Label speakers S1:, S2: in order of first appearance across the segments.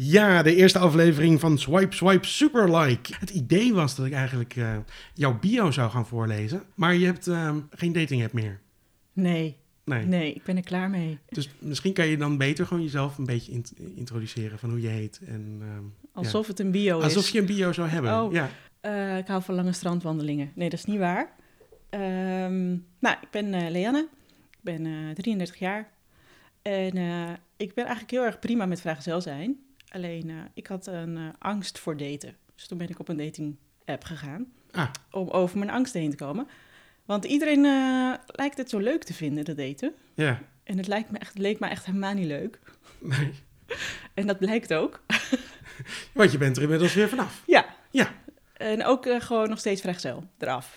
S1: Ja, de eerste aflevering van Swipe Swipe Superlike. Het idee was dat ik eigenlijk eh, jouw bio zou gaan voorlezen, maar je hebt eh, geen dating app meer.
S2: Nee,
S1: Nee.
S2: nee, ik ben er klaar mee.
S1: Dus misschien kan je dan beter gewoon jezelf een beetje int- introduceren van hoe je heet. En, ehm,
S2: Alsof het een bio
S1: ja.
S2: is.
S1: Alsof je een bio zou hebben.
S2: Oh.
S1: Ja.
S2: Eh, ik hou van lange strandwandelingen. Nee, dat is niet waar. Ehm, nou, ik ben eh, Leanne. Ik ben eh, 33 jaar. En eh, ik ben eigenlijk heel erg prima met vrijgezel zijn. Alleen, eh, ik had een eh, angst voor daten. Dus toen ben ik op een dating app gegaan.
S1: Ah.
S2: Om over mijn angst heen te komen. Want iedereen eh, lijkt het zo leuk te vinden, dat daten.
S1: ja.
S2: En het lijkt me echt, leek me echt helemaal niet leuk.
S1: Nee.
S2: En dat blijkt ook.
S1: Want je bent er inmiddels weer vanaf.
S2: Ja.
S1: Ja.
S2: En ook eh, gewoon nog steeds vrijgezel eraf.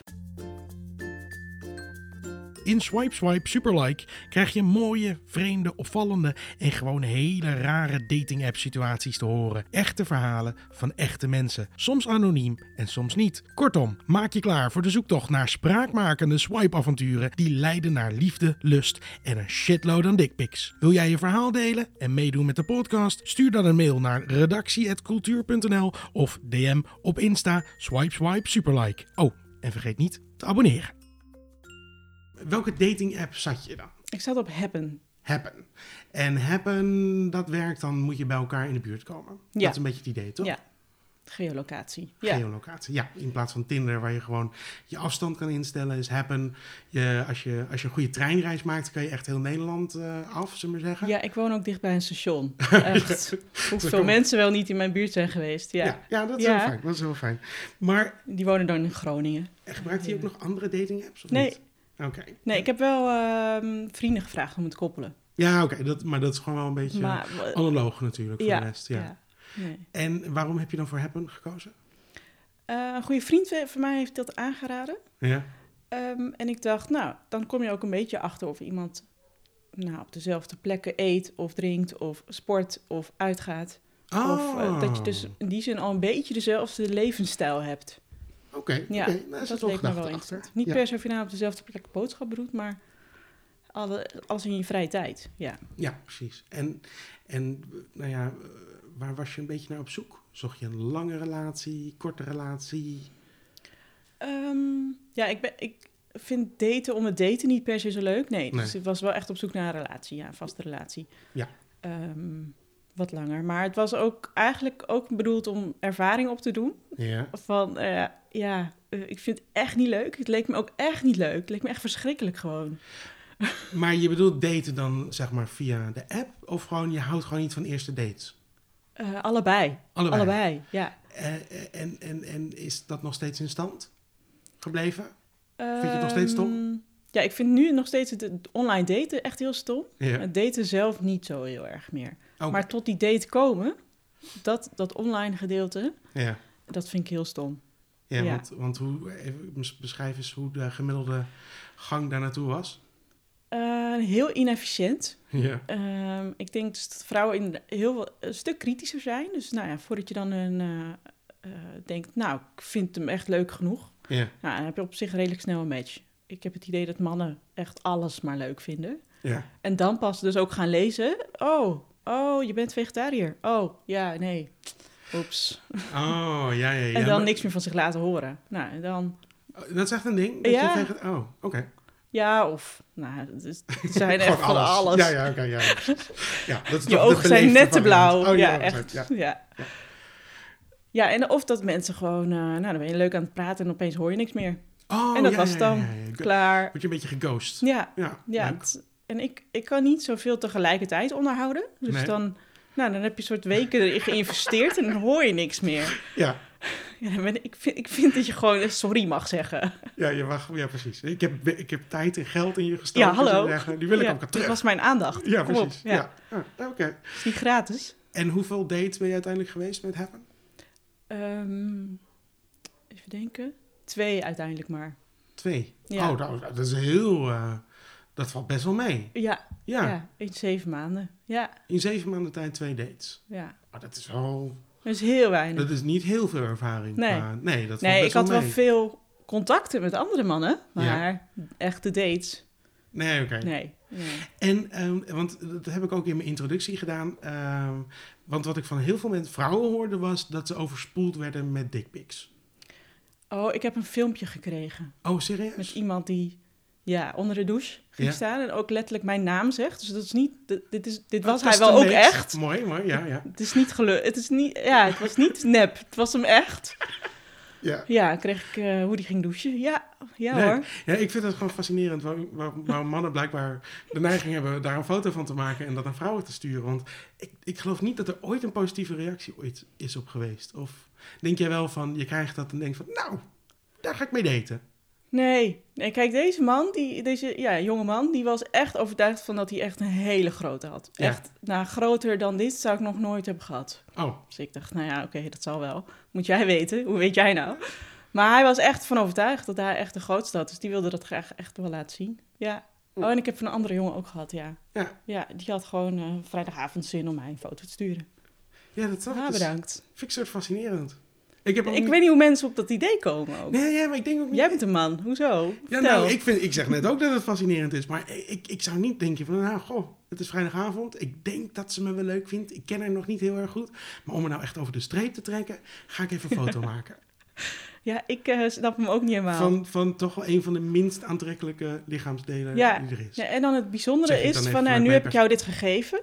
S1: In Swipe Swipe Superlike krijg je mooie, vreemde, opvallende en gewoon hele rare dating app situaties te horen. Echte verhalen van echte mensen. Soms anoniem en soms niet. Kortom, maak je klaar voor de zoektocht naar spraakmakende swipe avonturen die leiden naar liefde, lust en een shitload aan dickpics. Wil jij je verhaal delen en meedoen met de podcast? Stuur dan een mail naar redactie@cultuur.nl of DM op Insta Swipe Swipe Superlike. Oh, en vergeet niet te abonneren. Welke dating app zat je dan?
S2: Ik zat op Happen.
S1: Happen. En Happen, dat werkt, dan moet je bij elkaar in de buurt komen.
S2: Ja.
S1: Dat is een beetje het idee, toch?
S2: Ja. Geolocatie. Ja.
S1: Geolocatie. Ja, in plaats van Tinder, waar je gewoon je afstand kan instellen, is Happen. Je, als, je, als je een goede treinreis maakt, kan je echt heel Nederland eh, af, zullen we maar zeggen.
S2: ja, ik woon ook dicht bij een station. Echt. Hoeveel
S1: kan-
S2: mensen wel niet in mijn buurt zijn geweest. Ja.
S1: ja, ja, dat is
S2: Ja.
S1: heel fijn. Dat is heel fijn. Maar
S2: Die wonen dan in Groningen.
S1: eh, gebruikt hij ook nog andere dating apps? Of
S2: Nee.
S1: niet? Oké.
S2: Nee, ik heb wel ehm, vrienden gevraagd om het te koppelen.
S1: Ja, oké. dat- Maar dat is gewoon wel een beetje
S2: Maar eh,
S1: analoog natuurlijk voor
S2: ja,
S1: de rest. Ja.
S2: ja. Nee.
S1: En waarom heb je dan voor Happen gekozen?
S2: Eh, een goede vriend van mij heeft dat aangeraden.
S1: Ja.
S2: Ehm, en ik dacht, nou, dan kom je ook een beetje achter of iemand nou, op dezelfde plekken eet of drinkt of sport of uitgaat. Of eh, dat je dus
S1: Oh.
S2: in die zin al een beetje dezelfde levensstijl hebt.
S1: Oké,
S2: Ja,
S1: oké, daar is
S2: dat
S1: het wel
S2: leek me
S1: gedachte
S2: wel
S1: achter.
S2: interessant. Niet
S1: ja.
S2: per se of je nou op dezelfde plek boodschappen doet, maar alle, alles in je vrije tijd. Ja.
S1: ja, precies. En, en nou ja, eh, waar was je een beetje naar op zoek? Zocht je een lange relatie, korte relatie?
S2: Ehm, ja, ik, ben, ik vind daten om het daten niet per se zo leuk. Nee, dus
S1: Nee.
S2: ik was wel echt op zoek naar een relatie, ja, een vaste relatie.
S1: Ja.
S2: Ehm, wat langer. Maar het was ook eigenlijk ook bedoeld om ervaring op te doen.
S1: Ja,
S2: Van, eh, ja, eh, ik vind het echt niet leuk. Het leek me ook echt niet leuk. Het leek me echt verschrikkelijk gewoon.
S1: maar je bedoelt daten dan zeg maar via de app? Of gewoon, je houdt gewoon niet van eerste dates?
S2: Eh, allebei.
S1: Allebei.
S2: Allebei, ja.
S1: Eh, en, en, en is dat nog steeds in stand gebleven? je het nog steeds stom?
S2: Ehm, Ja, ik vind nu nog steeds het, het online daten echt heel stom.
S1: Ja,
S2: Het daten zelf niet zo heel erg meer.
S1: Oké,
S2: Maar tot die date komen, dat, dat online gedeelte,
S1: ja.
S2: dat vind ik heel stom.
S1: ja,
S2: ja.
S1: Want, want hoe, even bes- beschrijf eens hoe de gemiddelde gang daar naartoe was.
S2: Eh, heel inefficiënt.
S1: Ja,
S2: Ehm, ik denk dus dat vrouwen in heel wel, een stuk kritischer zijn. Dus nou ja, voordat je dan een, eh, eh, denkt, nou, ik vind hem echt leuk genoeg.
S1: ja,
S2: Nou, dan heb je op zich redelijk snel een match. Ik heb het idee dat mannen echt alles maar leuk vinden.
S1: ja.
S2: En dan pas dus ook gaan lezen. Oh, oh, je bent vegetariër. Oh, ja, nee. Oeps.
S1: Oh, ja, ja, ja.
S2: en dan
S1: maar-
S2: niks meer van zich laten horen. Nou, en dan...
S1: Oh, Dat is echt een ding? Dat
S2: Ja.
S1: je tegen... Oh, oké.
S2: Ja, of... Nou, het is- het zijn
S1: Gewoon
S2: echt van alles.
S1: Ja, ja, oké. ja, ja, precies. ja, dat is
S2: Je
S1: toch de
S2: ogen zijn
S1: beleefde
S2: net te
S1: variant.
S2: blauw.
S1: Oh,
S2: ja,
S1: je ogen zijn-
S2: echt. Ja.
S1: ja.
S2: Ja.
S1: Ja.
S2: en of dat mensen gewoon... eh, nou, dan ben je leuk aan het praten en opeens hoor je niks meer.
S1: Oh,
S2: En dat
S1: ja,
S2: was
S1: ja,
S2: dan
S1: ja, ja, ja.
S2: Klaar.
S1: Word je een beetje geghost.
S2: Ja,
S1: Ja,
S2: Ja,
S1: leuk.
S2: het- en ik, ik kan niet zoveel tegelijkertijd onderhouden. Dus
S1: Nee.
S2: dan, nou, dan heb je een soort weken erin geïnvesteerd en dan hoor je niks meer.
S1: ja,
S2: Ja, dan ben ik, ik, vind, ik vind dat je gewoon echt sorry mag zeggen.
S1: ja, je mag, ja, precies. Ik heb, ik heb tijd en geld in je gestoken.
S2: Ja, hallo.
S1: zullen we zeggen. Die wil ik
S2: Ja,
S1: ook al
S2: Dat
S1: terug.
S2: was mijn aandacht.
S1: Ja,
S2: Kom op,
S1: precies.
S2: ja.
S1: Ja. Ah, oké.
S2: Het is niet gratis.
S1: En hoeveel dates ben je uiteindelijk geweest met Heaven?
S2: Ehm, even denken. Twee uiteindelijk maar.
S1: Twee.
S2: Ja.
S1: Oh, nou, dat is heel... eh, dat valt best wel mee.
S2: Ja,
S1: Ja,
S2: ja. in zeven maanden. Ja,
S1: in zeven maanden tijd twee dates.
S2: ja.
S1: Oh, dat is wel...
S2: Dat is heel weinig.
S1: Dat is niet heel veel ervaring.
S2: Nee.
S1: qua- nee, dat valt
S2: nee, ik
S1: best
S2: had
S1: wel
S2: wel
S1: mee.
S2: veel contacten met andere mannen,
S1: Ja.
S2: maar echte dates.
S1: Nee, oké.
S2: Nee. nee.
S1: En, ehm, want dat heb ik ook in mijn introductie gedaan. ehm, want wat ik van heel veel mensen, vrouwen hoorde was dat ze overspoeld werden met dickpics.
S2: Oh, ik heb een filmpje gekregen
S1: Oh,
S2: met
S1: serieus?
S2: iemand die ja, onder de douche ging
S1: Ja.
S2: staan en ook letterlijk mijn naam zegt. Dus dat is niet, dit, dit is, dit
S1: Oh, dat
S2: was hij
S1: is
S2: wel
S1: te
S2: ook
S1: leuk.
S2: echt.
S1: Mooi, mooi, ja, ja.
S2: Het is niet gelukt. Het is niet, ja, het was niet nep. Het was hem echt.
S1: ja.
S2: Ja, dan kreeg ik eh, hoe die ging douchen. Ja, ja
S1: Leuk.
S2: hoor.
S1: Ja, ik vind het gewoon fascinerend waarom waar, waar mannen blijkbaar de neiging hebben daar een foto van te maken en dat aan vrouwen te sturen. Want ik, ik geloof niet dat er ooit een positieve reactie ooit is op geweest. Of denk jij wel van, je krijgt dat en denkt van, nou, daar ga ik mee daten.
S2: Nee. nee, kijk, deze man, die, deze ja, jonge man, die was echt overtuigd van dat hij echt een hele grote had.
S1: Ja.
S2: Echt, nou, groter dan dit zou ik nog nooit hebben gehad.
S1: Oh,
S2: Dus ik dacht, nou ja, oké, dat zal wel. Moet jij weten, hoe weet jij nou? Maar hij was echt van overtuigd dat hij echt de grootste had. Dus die wilde dat graag echt wel laten zien. Ja. Oh, en ik heb van een andere jongen ook gehad, ja.
S1: Ja.
S2: Ja, die had gewoon eh, vrijdagavond zin om mij een foto te sturen.
S1: ja, dat snap ik.
S2: Ah,
S1: Dus
S2: bedankt.
S1: vind ik soort fascinerend. Ik, heb ook
S2: Ik
S1: niet-
S2: weet niet hoe mensen op dat idee komen ook.
S1: Nee, ja, maar ik denk ook niet...
S2: Jij bent een man, hoezo?
S1: Ja,
S2: Vertel.
S1: nou, ik, vind, ik zeg net ook dat het fascinerend is, maar ik, ik zou niet denken van, nou, goh, het is vrijdagavond, ik denk dat ze me wel leuk vindt, ik ken haar nog niet heel erg goed, maar om me nou echt over de streep te trekken, ga ik even een foto maken.
S2: Ja, ik eh, snap hem ook niet helemaal.
S1: Van, van toch wel een van de minst aantrekkelijke lichaamsdelen
S2: Ja.
S1: die er is.
S2: Ja, en dan het bijzondere
S1: Zeg ik dan
S2: is
S1: even
S2: van, nou,
S1: vanuit
S2: nu
S1: mijn
S2: heb ik jou dit gegeven.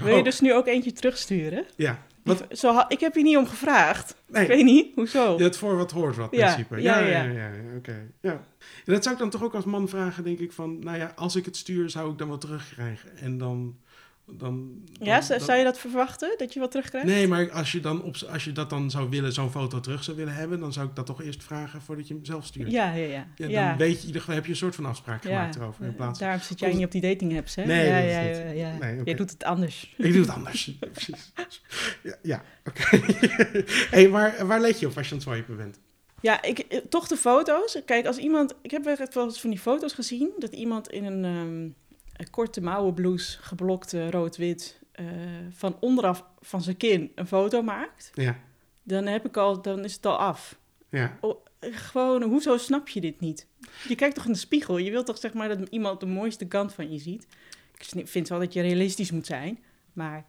S2: Wil je
S1: Oh,
S2: dus nu ook eentje terugsturen?
S1: ja.
S2: Die-
S1: Wat,
S2: Zo, ha- ik heb hier niet om gevraagd.
S1: nee,
S2: Ik weet niet, hoezo?
S1: ja, het voor wat hoort wat,
S2: Ja,
S1: principe. Ja,
S2: ja,
S1: ja, ja,
S2: ja.
S1: ja, oké. Ja. En dat zou ik dan toch ook als man vragen, denk ik, van, nou ja, als ik het stuur, zou ik dan wat terugkrijgen? En dan... dan
S2: Ja,
S1: dan-
S2: zou,
S1: dan-
S2: zou je dat verwachten, dat je wat terugkrijgt?
S1: Nee, maar als je, dan op, als je dat dan zou willen, zo'n foto terug zou willen hebben, dan zou ik dat toch eerst vragen voordat je hem zelf stuurt.
S2: Ja, ja, ja.
S1: Ja,
S2: ja,
S1: dan weet je, in ieder geval heb je een soort van afspraak gemaakt erover. In plaats van,
S2: Daarom zit jij
S1: Komt-
S2: niet op die dating apps, hè?
S1: Nee,
S2: ja,
S1: dat is
S2: ja,
S1: niet.
S2: ja, ja.
S1: Nee, oké.
S2: Jij doet het anders.
S1: ik doe het anders. Precies. Ja, ja oké. hey, maar waar let je op als je aan het swipen bent?
S2: Ja, ik, eh, toch de foto's. Kijk, als iemand... Ik heb echt wel eens van die foto's gezien... dat iemand in een, ehm, een korte mouwen blouse, geblokt eh, rood-wit... eh, van onderaf van zijn kin een foto maakt.
S1: Ja,
S2: Dan, heb ik al, dan is het al af.
S1: ja.
S2: Eh, Gewoon, hoezo snap je dit niet? Je kijkt toch in de spiegel? Je wilt toch zeg maar dat iemand de mooiste kant van je ziet? Ik sni- vind wel dat je realistisch moet zijn. Maar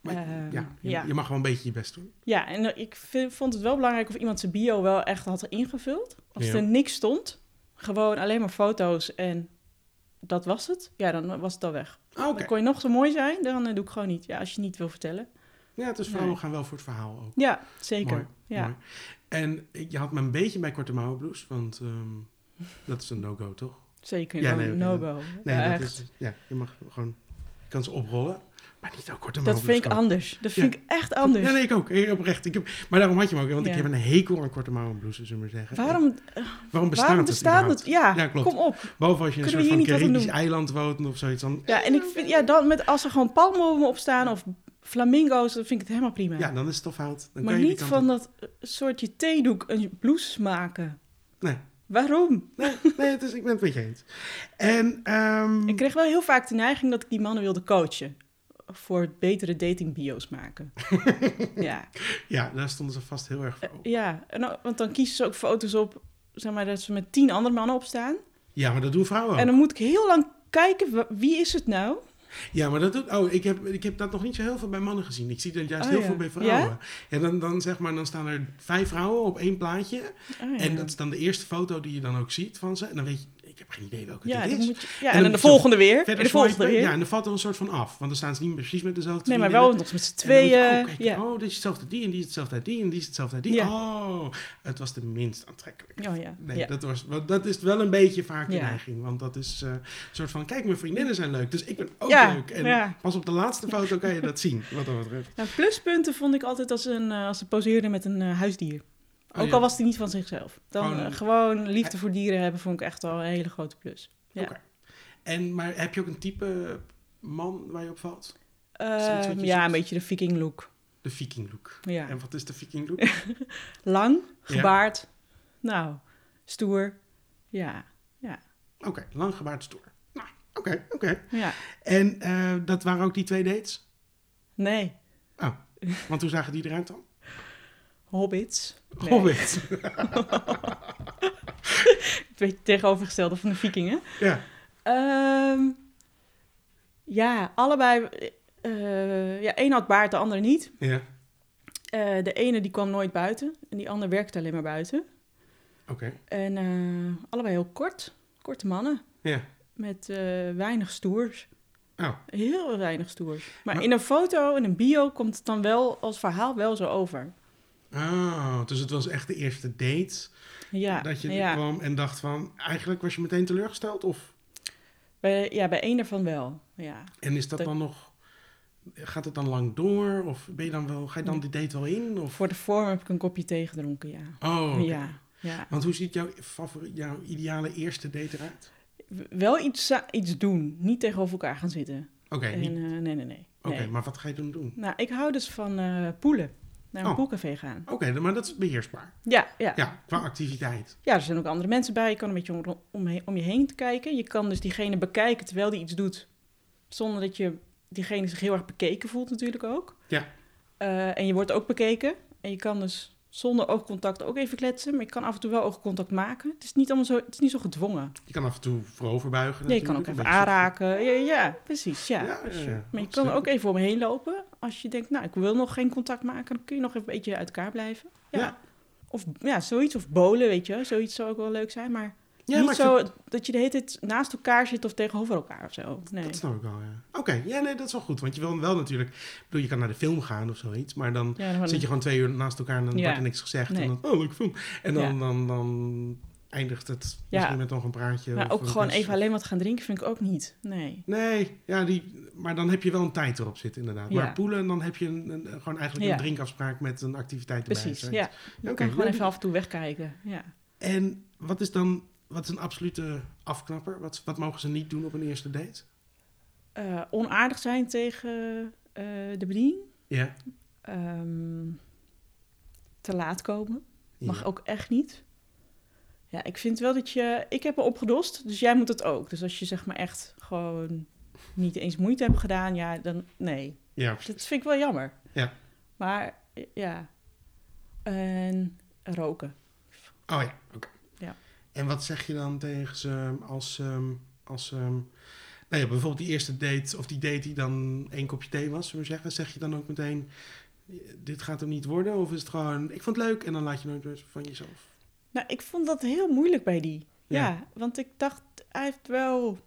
S1: Maar,
S2: Ehm,
S1: ja, je,
S2: ja.
S1: je mag wel een beetje je best doen.
S2: ja, en eh, ik vind- vond het wel belangrijk of iemand zijn bio wel echt had ingevuld. Als
S1: Ja.
S2: er niks stond, gewoon alleen maar foto's en dat was het. Ja, dan was het al weg.
S1: Ah, Oké.
S2: Dan kon je nog zo mooi zijn, dan eh, doe ik gewoon niet. Ja, als je niet wil vertellen.
S1: Ja, dus vrouwen
S2: Nee.
S1: gaan wel voor het verhaal ook.
S2: Ja, zeker.
S1: Mooi,
S2: ja.
S1: mooi. En ik- je had me een beetje bij korte mouwen blouse, want ehm, dat is een no-go, toch?
S2: Zeker,
S1: Ja,
S2: ja,
S1: nee, oké,
S2: no-go.
S1: Nee,
S2: Ja,
S1: dat
S2: echt.
S1: is, ja, je mag gewoon, je kan ze oprollen, maar niet ook korte
S2: dat
S1: mouwen
S2: vind ik
S1: blouse kopen.
S2: anders. Dat
S1: Ja.
S2: vind ik echt anders.
S1: Ja, nee, ik ook. Heel Oprecht. Ik heb, maar daarom had je hem ook, want ik
S2: Ja.
S1: heb een hekel aan korte mouwen blouses, zullen we maar zeggen.
S2: Waarom
S1: waarom bestaat
S2: Waarom
S1: het
S2: bestaat
S1: überhaupt?
S2: het? Ja,
S1: Ja, klopt.
S2: kom op.
S1: Behalve als je in een
S2: Kunnen
S1: soort
S2: we
S1: van
S2: hier niet wat aan
S1: Caribisch
S2: doen?
S1: eiland woont of zoiets. Dan,
S2: Ja, en ik vind, ja, dan met als er gewoon palmbomen op staan of flamingo's, dan vind ik het helemaal prima.
S1: ja, dan is het toch fout. Dan
S2: maar
S1: kan je die
S2: niet
S1: kant
S2: van
S1: op.
S2: dat eh, soortje theedoek een blouse maken.
S1: Nee.
S2: Waarom?
S1: Nee, het is, ik ben het met je eens. En, ehm,
S2: Ik kreeg wel heel vaak de neiging dat ik die mannen wilde coachen. Voor betere datingbio's maken. ja. eh,
S1: ja, daar stonden ze vast heel erg voor. open.
S2: ja, en dan- want dan kiezen ze ook foto's op, zeg maar, dat ze met tien andere mannen op staan.
S1: Ja, maar dat doen vrouwen ook.
S2: En dan moet ik heel lang kijken, wa- wie is het nou?
S1: Ja, maar dat doet. Oh, ik heb, ik heb dat nog niet zo heel veel bij mannen gezien. Ik zie dat juist
S2: Oh,
S1: heel
S2: ja.
S1: veel bij vrouwen. Ja, dan, dan zeg maar, dan staan er vijf vrouwen op één plaatje.
S2: Ah, ja.
S1: En dat is dan de eerste foto die je dan ook ziet van ze. En dan weet je, ik heb geen idee welke
S2: ja,
S1: dit
S2: dan
S1: is.
S2: moet je- ja,
S1: dan
S2: en dan de
S1: moet je
S2: volgende weer. En
S1: Verder
S2: de volgende
S1: swipen,
S2: weer.
S1: Ja, en dan valt er een soort van af. Want dan staan ze niet precies met dezelfde
S2: Nee, maar wel
S1: vriendinnen.
S2: nog met
S1: En
S2: z'n
S1: dan moet je
S2: tweeën.
S1: ook kijken,
S2: ja.
S1: Oh, dit is hetzelfde die en die is hetzelfde uit die en die is hetzelfde uit die.
S2: Ja.
S1: Oh, het was de minst aantrekkelijke.
S2: Ja, Oh, ja.
S1: Nee,
S2: ja.
S1: dat, was, want dat is wel een beetje vaak de
S2: Ja.
S1: neiging. Want dat is eh, een soort van, kijk, mijn vriendinnen zijn leuk, dus ik ben ook
S2: Ja,
S1: leuk. En
S2: ja.
S1: pas op de laatste foto kan je dat zien, wat dat betreft.
S2: Nou, pluspunten vond ik altijd als, een, eh, als ze poseerden met een eh, huisdier.
S1: Oh,
S2: ook
S1: ja.
S2: al was die niet van zichzelf. Dan
S1: Gewoon-
S2: eh, gewoon liefde voor dieren hebben vond ik echt al een hele grote plus. ja.
S1: Oké. En, maar heb je ook een type man waar je op valt?
S2: Eh,
S1: iets wat je
S2: ja,
S1: zoekt?
S2: een beetje de viking look.
S1: De viking look.
S2: Ja.
S1: En wat is de viking look?
S2: Lang,
S1: Ja.
S2: gebaard. Nou, stoer. Ja,
S1: Oké, lang gebaard stoer. Nou, oké, oké.
S2: ja.
S1: En eh, dat waren ook die twee dates?
S2: Nee,
S1: Oh, want hoe zagen die eruit dan?
S2: hobbits. Nee.
S1: Hobbit.
S2: Een beetje tegenovergestelde van de vikingen.
S1: Ja.
S2: Ehm, ja, allebei. eh, ja, één had baard, de ander niet.
S1: Ja,
S2: Eh, de ene die kwam nooit buiten en die ander werkte alleen maar buiten.
S1: oké.
S2: En eh, allebei heel kort. Korte mannen.
S1: Ja.
S2: Met eh, weinig stoers.
S1: Oh,
S2: Heel weinig stoers. Maar,
S1: Maar-
S2: in een foto, in een bio, komt het dan wel als verhaal wel zo over.
S1: oh, dus het was echt de eerste date
S2: Ja,
S1: dat je oh.
S2: ja.
S1: kwam en dacht van... Eigenlijk was je meteen teleurgesteld of...
S2: Bij, ja, bij één ervan wel. Ja.
S1: En is dat
S2: Dat-
S1: dan nog... Gaat het dan lang door? Of ben je dan wel, ga je dan die date wel in? Of...
S2: Voor de vorm heb ik een kopje thee gedronken, ja.
S1: Oh, oké.
S2: Ja, ja.
S1: Want hoe ziet jouw, favori- jouw ideale eerste date eruit?
S2: W- Wel iets, za- iets doen. Niet tegenover elkaar gaan zitten.
S1: Oké,
S2: en,
S1: niet-
S2: eh, nee, nee, nee.
S1: oké,
S2: nee.
S1: maar wat ga je dan doen?
S2: Nou, ik hou dus van eh, poelen. Naar een
S1: Oh.
S2: poolcafé gaan.
S1: Oké, dan- maar dat is beheersbaar.
S2: Ja, ja.
S1: Ja, qua activiteit.
S2: Ja, er zijn ook andere mensen bij. Je kan een beetje om, om, he- om je heen kijken. Je kan dus diegene bekijken terwijl die iets doet. Zonder dat je diegene zich heel erg bekeken voelt natuurlijk ook.
S1: Ja.
S2: Eh, en je wordt ook bekeken. En je kan dus zonder oogcontact ook even kletsen. Maar je kan af en toe wel oogcontact maken. Het is niet, allemaal zo, het is niet zo gedwongen.
S1: Je kan af en toe vooroverbuigen.
S2: Ja, je kan ook even
S1: natuurlijk,
S2: aanraken. Ja, ja precies. Ja. dus, eh,
S1: een beetje- Ja, ja, ja.
S2: Maar je kan er ook even omheen lopen. Als je denkt, nou, ik wil nog geen contact maken. Dan kun je nog even een beetje uit elkaar blijven. Ja.
S1: Ja.
S2: Of ja, zoiets. Of bolen, weet je. wel. Zoiets zou ook wel leuk zijn. Maar
S1: Ja, maar
S2: niet
S1: ik
S2: zo
S1: vind-
S2: dat je de hele tijd naast elkaar zit of tegenover elkaar of zo. Nee.
S1: Dat snap ik wel, ja. Oké, ja, nee, dat is wel goed. Want je wil wel natuurlijk... Ik bedoel, je kan naar de film gaan of zoiets, maar dan...
S2: Ja, dan
S1: Zit je gewoon twee uur naast elkaar en dan
S2: Ja.
S1: wordt er niks gezegd.
S2: Nee.
S1: En dan, oh, leuk film. En dan,
S2: Ja.
S1: dan, dan eindigt het
S2: Ja.
S1: misschien met nog een praatje.
S2: maar
S1: of
S2: ook
S1: een
S2: gewoon
S1: kus.
S2: even alleen wat gaan drinken vind ik ook niet. Nee.
S1: Nee, ja, die, maar dan heb je wel een tijd erop zitten inderdaad.
S2: Ja.
S1: Maar poelen, dan heb je een, een- gewoon eigenlijk
S2: Ja.
S1: een drinkafspraak met een activiteit erbij.
S2: Precies,
S1: Zoiets.
S2: ja. Je
S1: Oké,
S2: kan gewoon
S1: ja,
S2: even af en toe wegkijken. Ja.
S1: En wat is dan, wat is een absolute afknapper? Wat, wat mogen ze niet doen op een eerste date?
S2: Eh, onaardig zijn tegen eh, de bediening.
S1: Ja.
S2: Ehm, te laat komen. Mag
S1: Ja.
S2: ook echt niet. Ja, ik vind wel dat je... Ik heb er opgedost, dus jij moet het ook. Dus als je zeg maar echt gewoon niet eens moeite hebt gedaan, ja, dan nee.
S1: Ja,
S2: Dus Dat
S1: precies.
S2: vind ik wel jammer.
S1: Ja.
S2: Maar ja. En roken.
S1: Oh ja, oké.
S2: Ja.
S1: En wat zeg je dan tegen ze als... ehm, als ehm, nou ja, bijvoorbeeld die eerste date, of die date die dan één kopje thee was, zullen we zeggen. Zeg je dan ook meteen, dit gaat hem niet worden? Of is het gewoon, ik vond het leuk en dan laat je nooit meer van jezelf?
S2: Nou, ik vond dat heel moeilijk bij die. Ja. want ik dacht, hij heeft wel.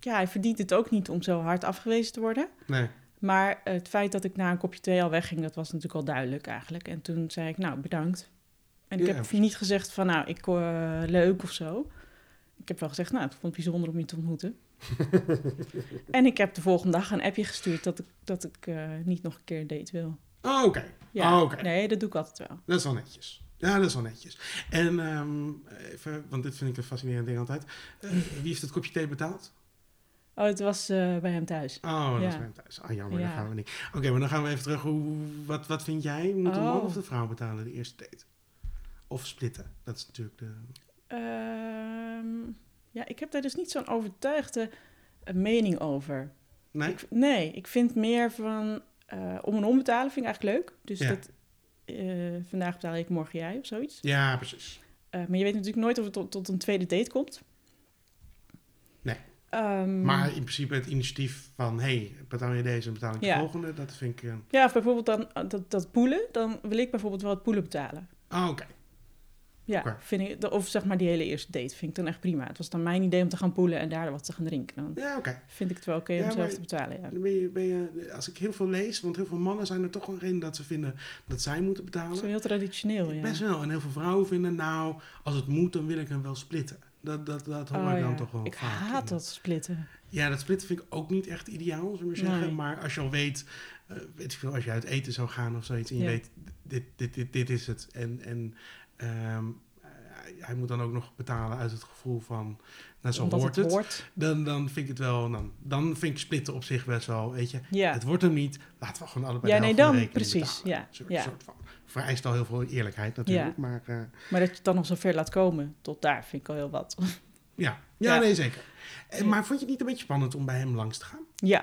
S2: Ja, hij verdient het ook niet om zo hard afgewezen te worden.
S1: Nee.
S2: Maar het feit dat ik na een kopje thee al wegging, dat was natuurlijk al duidelijk eigenlijk. En toen zei ik, nou, bedankt. En ik
S1: Ja.
S2: heb niet gezegd van, nou, ik eh, leuk of zo. Ik heb wel gezegd, nou, ik vond het bijzonder om je te ontmoeten. en ik heb de volgende dag een appje gestuurd dat ik, dat ik eh, niet nog een keer een date wil.
S1: Oh, oké.
S2: Ja,
S1: Oh, oké.
S2: nee, dat doe ik altijd wel.
S1: Dat is wel netjes. Ja, dat is wel netjes. En ehm, even, want dit vind ik een fascinerend ding altijd. Eh, wie heeft het kopje thee betaald?
S2: Oh, het was eh, bij hem thuis.
S1: Oh, dat
S2: Ja.
S1: is bij hem thuis. Ah, jammer,
S2: Ja.
S1: daar gaan we niet. Oké, maar dan gaan we even terug. Hoe, wat, wat vind jij? Moet de man
S2: Oh.
S1: of de vrouw betalen de eerste date? Of splitten? Dat is natuurlijk de...
S2: Ehm, ja, ik heb daar dus niet zo'n overtuigde eh, mening over.
S1: Nee?
S2: Ik, nee, ik vind meer van eh, om en om betalen vind ik eigenlijk leuk. Dus
S1: Ja.
S2: dat, eh, vandaag betaal ik, morgen jij of zoiets.
S1: Ja, precies.
S2: Eh, maar je weet natuurlijk nooit of het tot, tot een tweede date komt.
S1: Nee.
S2: Ehm,
S1: Maar in principe het initiatief van... hé, hey, betaal je deze en betaal ik de
S2: Ja.
S1: volgende? Dat vind ik... eh,
S2: Ja, of bijvoorbeeld dan, eh, dat, dat poelen, dan wil ik bijvoorbeeld wel het poelen betalen.
S1: Oh, oké.
S2: Ja,
S1: Oké.
S2: vind ik, of zeg maar die hele eerste date vind ik dan echt prima. Het was dan mijn idee om te gaan poelen en daar wat te gaan drinken. Dan
S1: Ja, oké.
S2: vind ik het wel oké
S1: Ja,
S2: om zelf
S1: maar-
S2: te betalen. Ja.
S1: Dan ben je, ben je, als ik heel veel lees, want heel veel mannen zijn er toch wel in dat ze vinden dat zij moeten
S2: Dat is
S1: betalen.
S2: wel heel traditioneel, ja.
S1: Best wel. En heel veel vrouwen vinden, nou, als het moet, dan wil ik hem wel splitten. Dat, dat, dat hoor
S2: Oh,
S1: ik dan
S2: ja.
S1: toch wel
S2: Ik
S1: vaak.
S2: haat dat splitten.
S1: Ja, dat splitten vind ik ook niet echt ideaal, zullen we maar zeggen.
S2: Nee.
S1: Maar als je al weet, eh, weet ik veel, als je uit eten zou gaan of zoiets... en je
S2: Ja.
S1: weet, dit, dit, dit, dit is het. En, en ehm, hij- hij moet dan ook nog betalen uit het gevoel van, nou, zo
S2: Omdat
S1: hoort
S2: het
S1: het.
S2: hoort.
S1: Dan, dan vind ik het wel, dan, dan vind ik splitten op zich best wel, weet je...
S2: Ja,
S1: Het wordt hem niet, laten we gewoon allebei
S2: ja
S1: de
S2: nee,
S1: helft van de
S2: dan
S1: rekening
S2: precies.
S1: betalen.
S2: Ja,
S1: Een soort-
S2: ja.
S1: soort van. Vereist al heel veel eerlijkheid natuurlijk, maar... eh,
S2: Maar dat je het dan nog zo ver laat komen, tot daar vind ik al heel wat.
S1: Ja, ja,
S2: Ja.
S1: nee, zeker. En,
S2: Ja.
S1: Maar vond je het niet een beetje spannend om bij hem langs te gaan?
S2: Ja,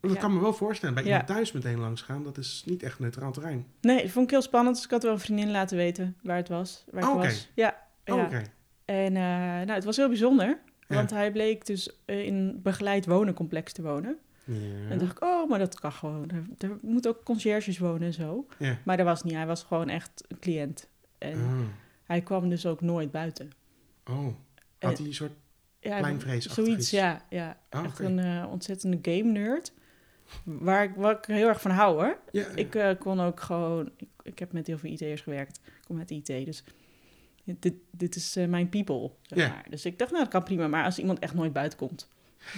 S1: Want dat
S2: Ja.
S1: kan me wel voorstellen. Bij
S2: Ja.
S1: iemand thuis meteen langs gaan, dat is niet echt neutraal terrein.
S2: nee, dat vond ik heel spannend. Dus ik had wel een vriendin laten weten waar het was. Waar ik
S1: Oh, oké.
S2: was. Ja,
S1: Oh,
S2: ja.
S1: oké.
S2: En eh, nou, het was heel bijzonder.
S1: Ja.
S2: Want hij bleek dus eh, in een begeleid wonen-complex te wonen. En
S1: Ja.
S2: toen dacht ik, oh, maar dat kan gewoon. Er, er moeten ook conciërges wonen en zo.
S1: Ja.
S2: Maar dat was niet. Hij was gewoon echt een cliënt. En
S1: Ah,
S2: hij kwam dus ook nooit buiten.
S1: Oh, had hij een soort...
S2: Ja,
S1: Pleinvreesachtig iets.
S2: Zoiets, ja. ja.
S1: Ah,
S2: echt
S1: oké.
S2: een eh, ontzettende game-nerd. Waar ik, waar ik heel erg van hou, hoor.
S1: Ja,
S2: Ik eh, kon ook gewoon... Ik, ik heb met heel veel IT'ers gewerkt. Ik kom uit IT, dus... Dit, dit is eh, mijn people, zeg
S1: Ja.
S2: maar. Dus ik dacht, nou, dat kan prima. Maar als iemand echt nooit buiten komt...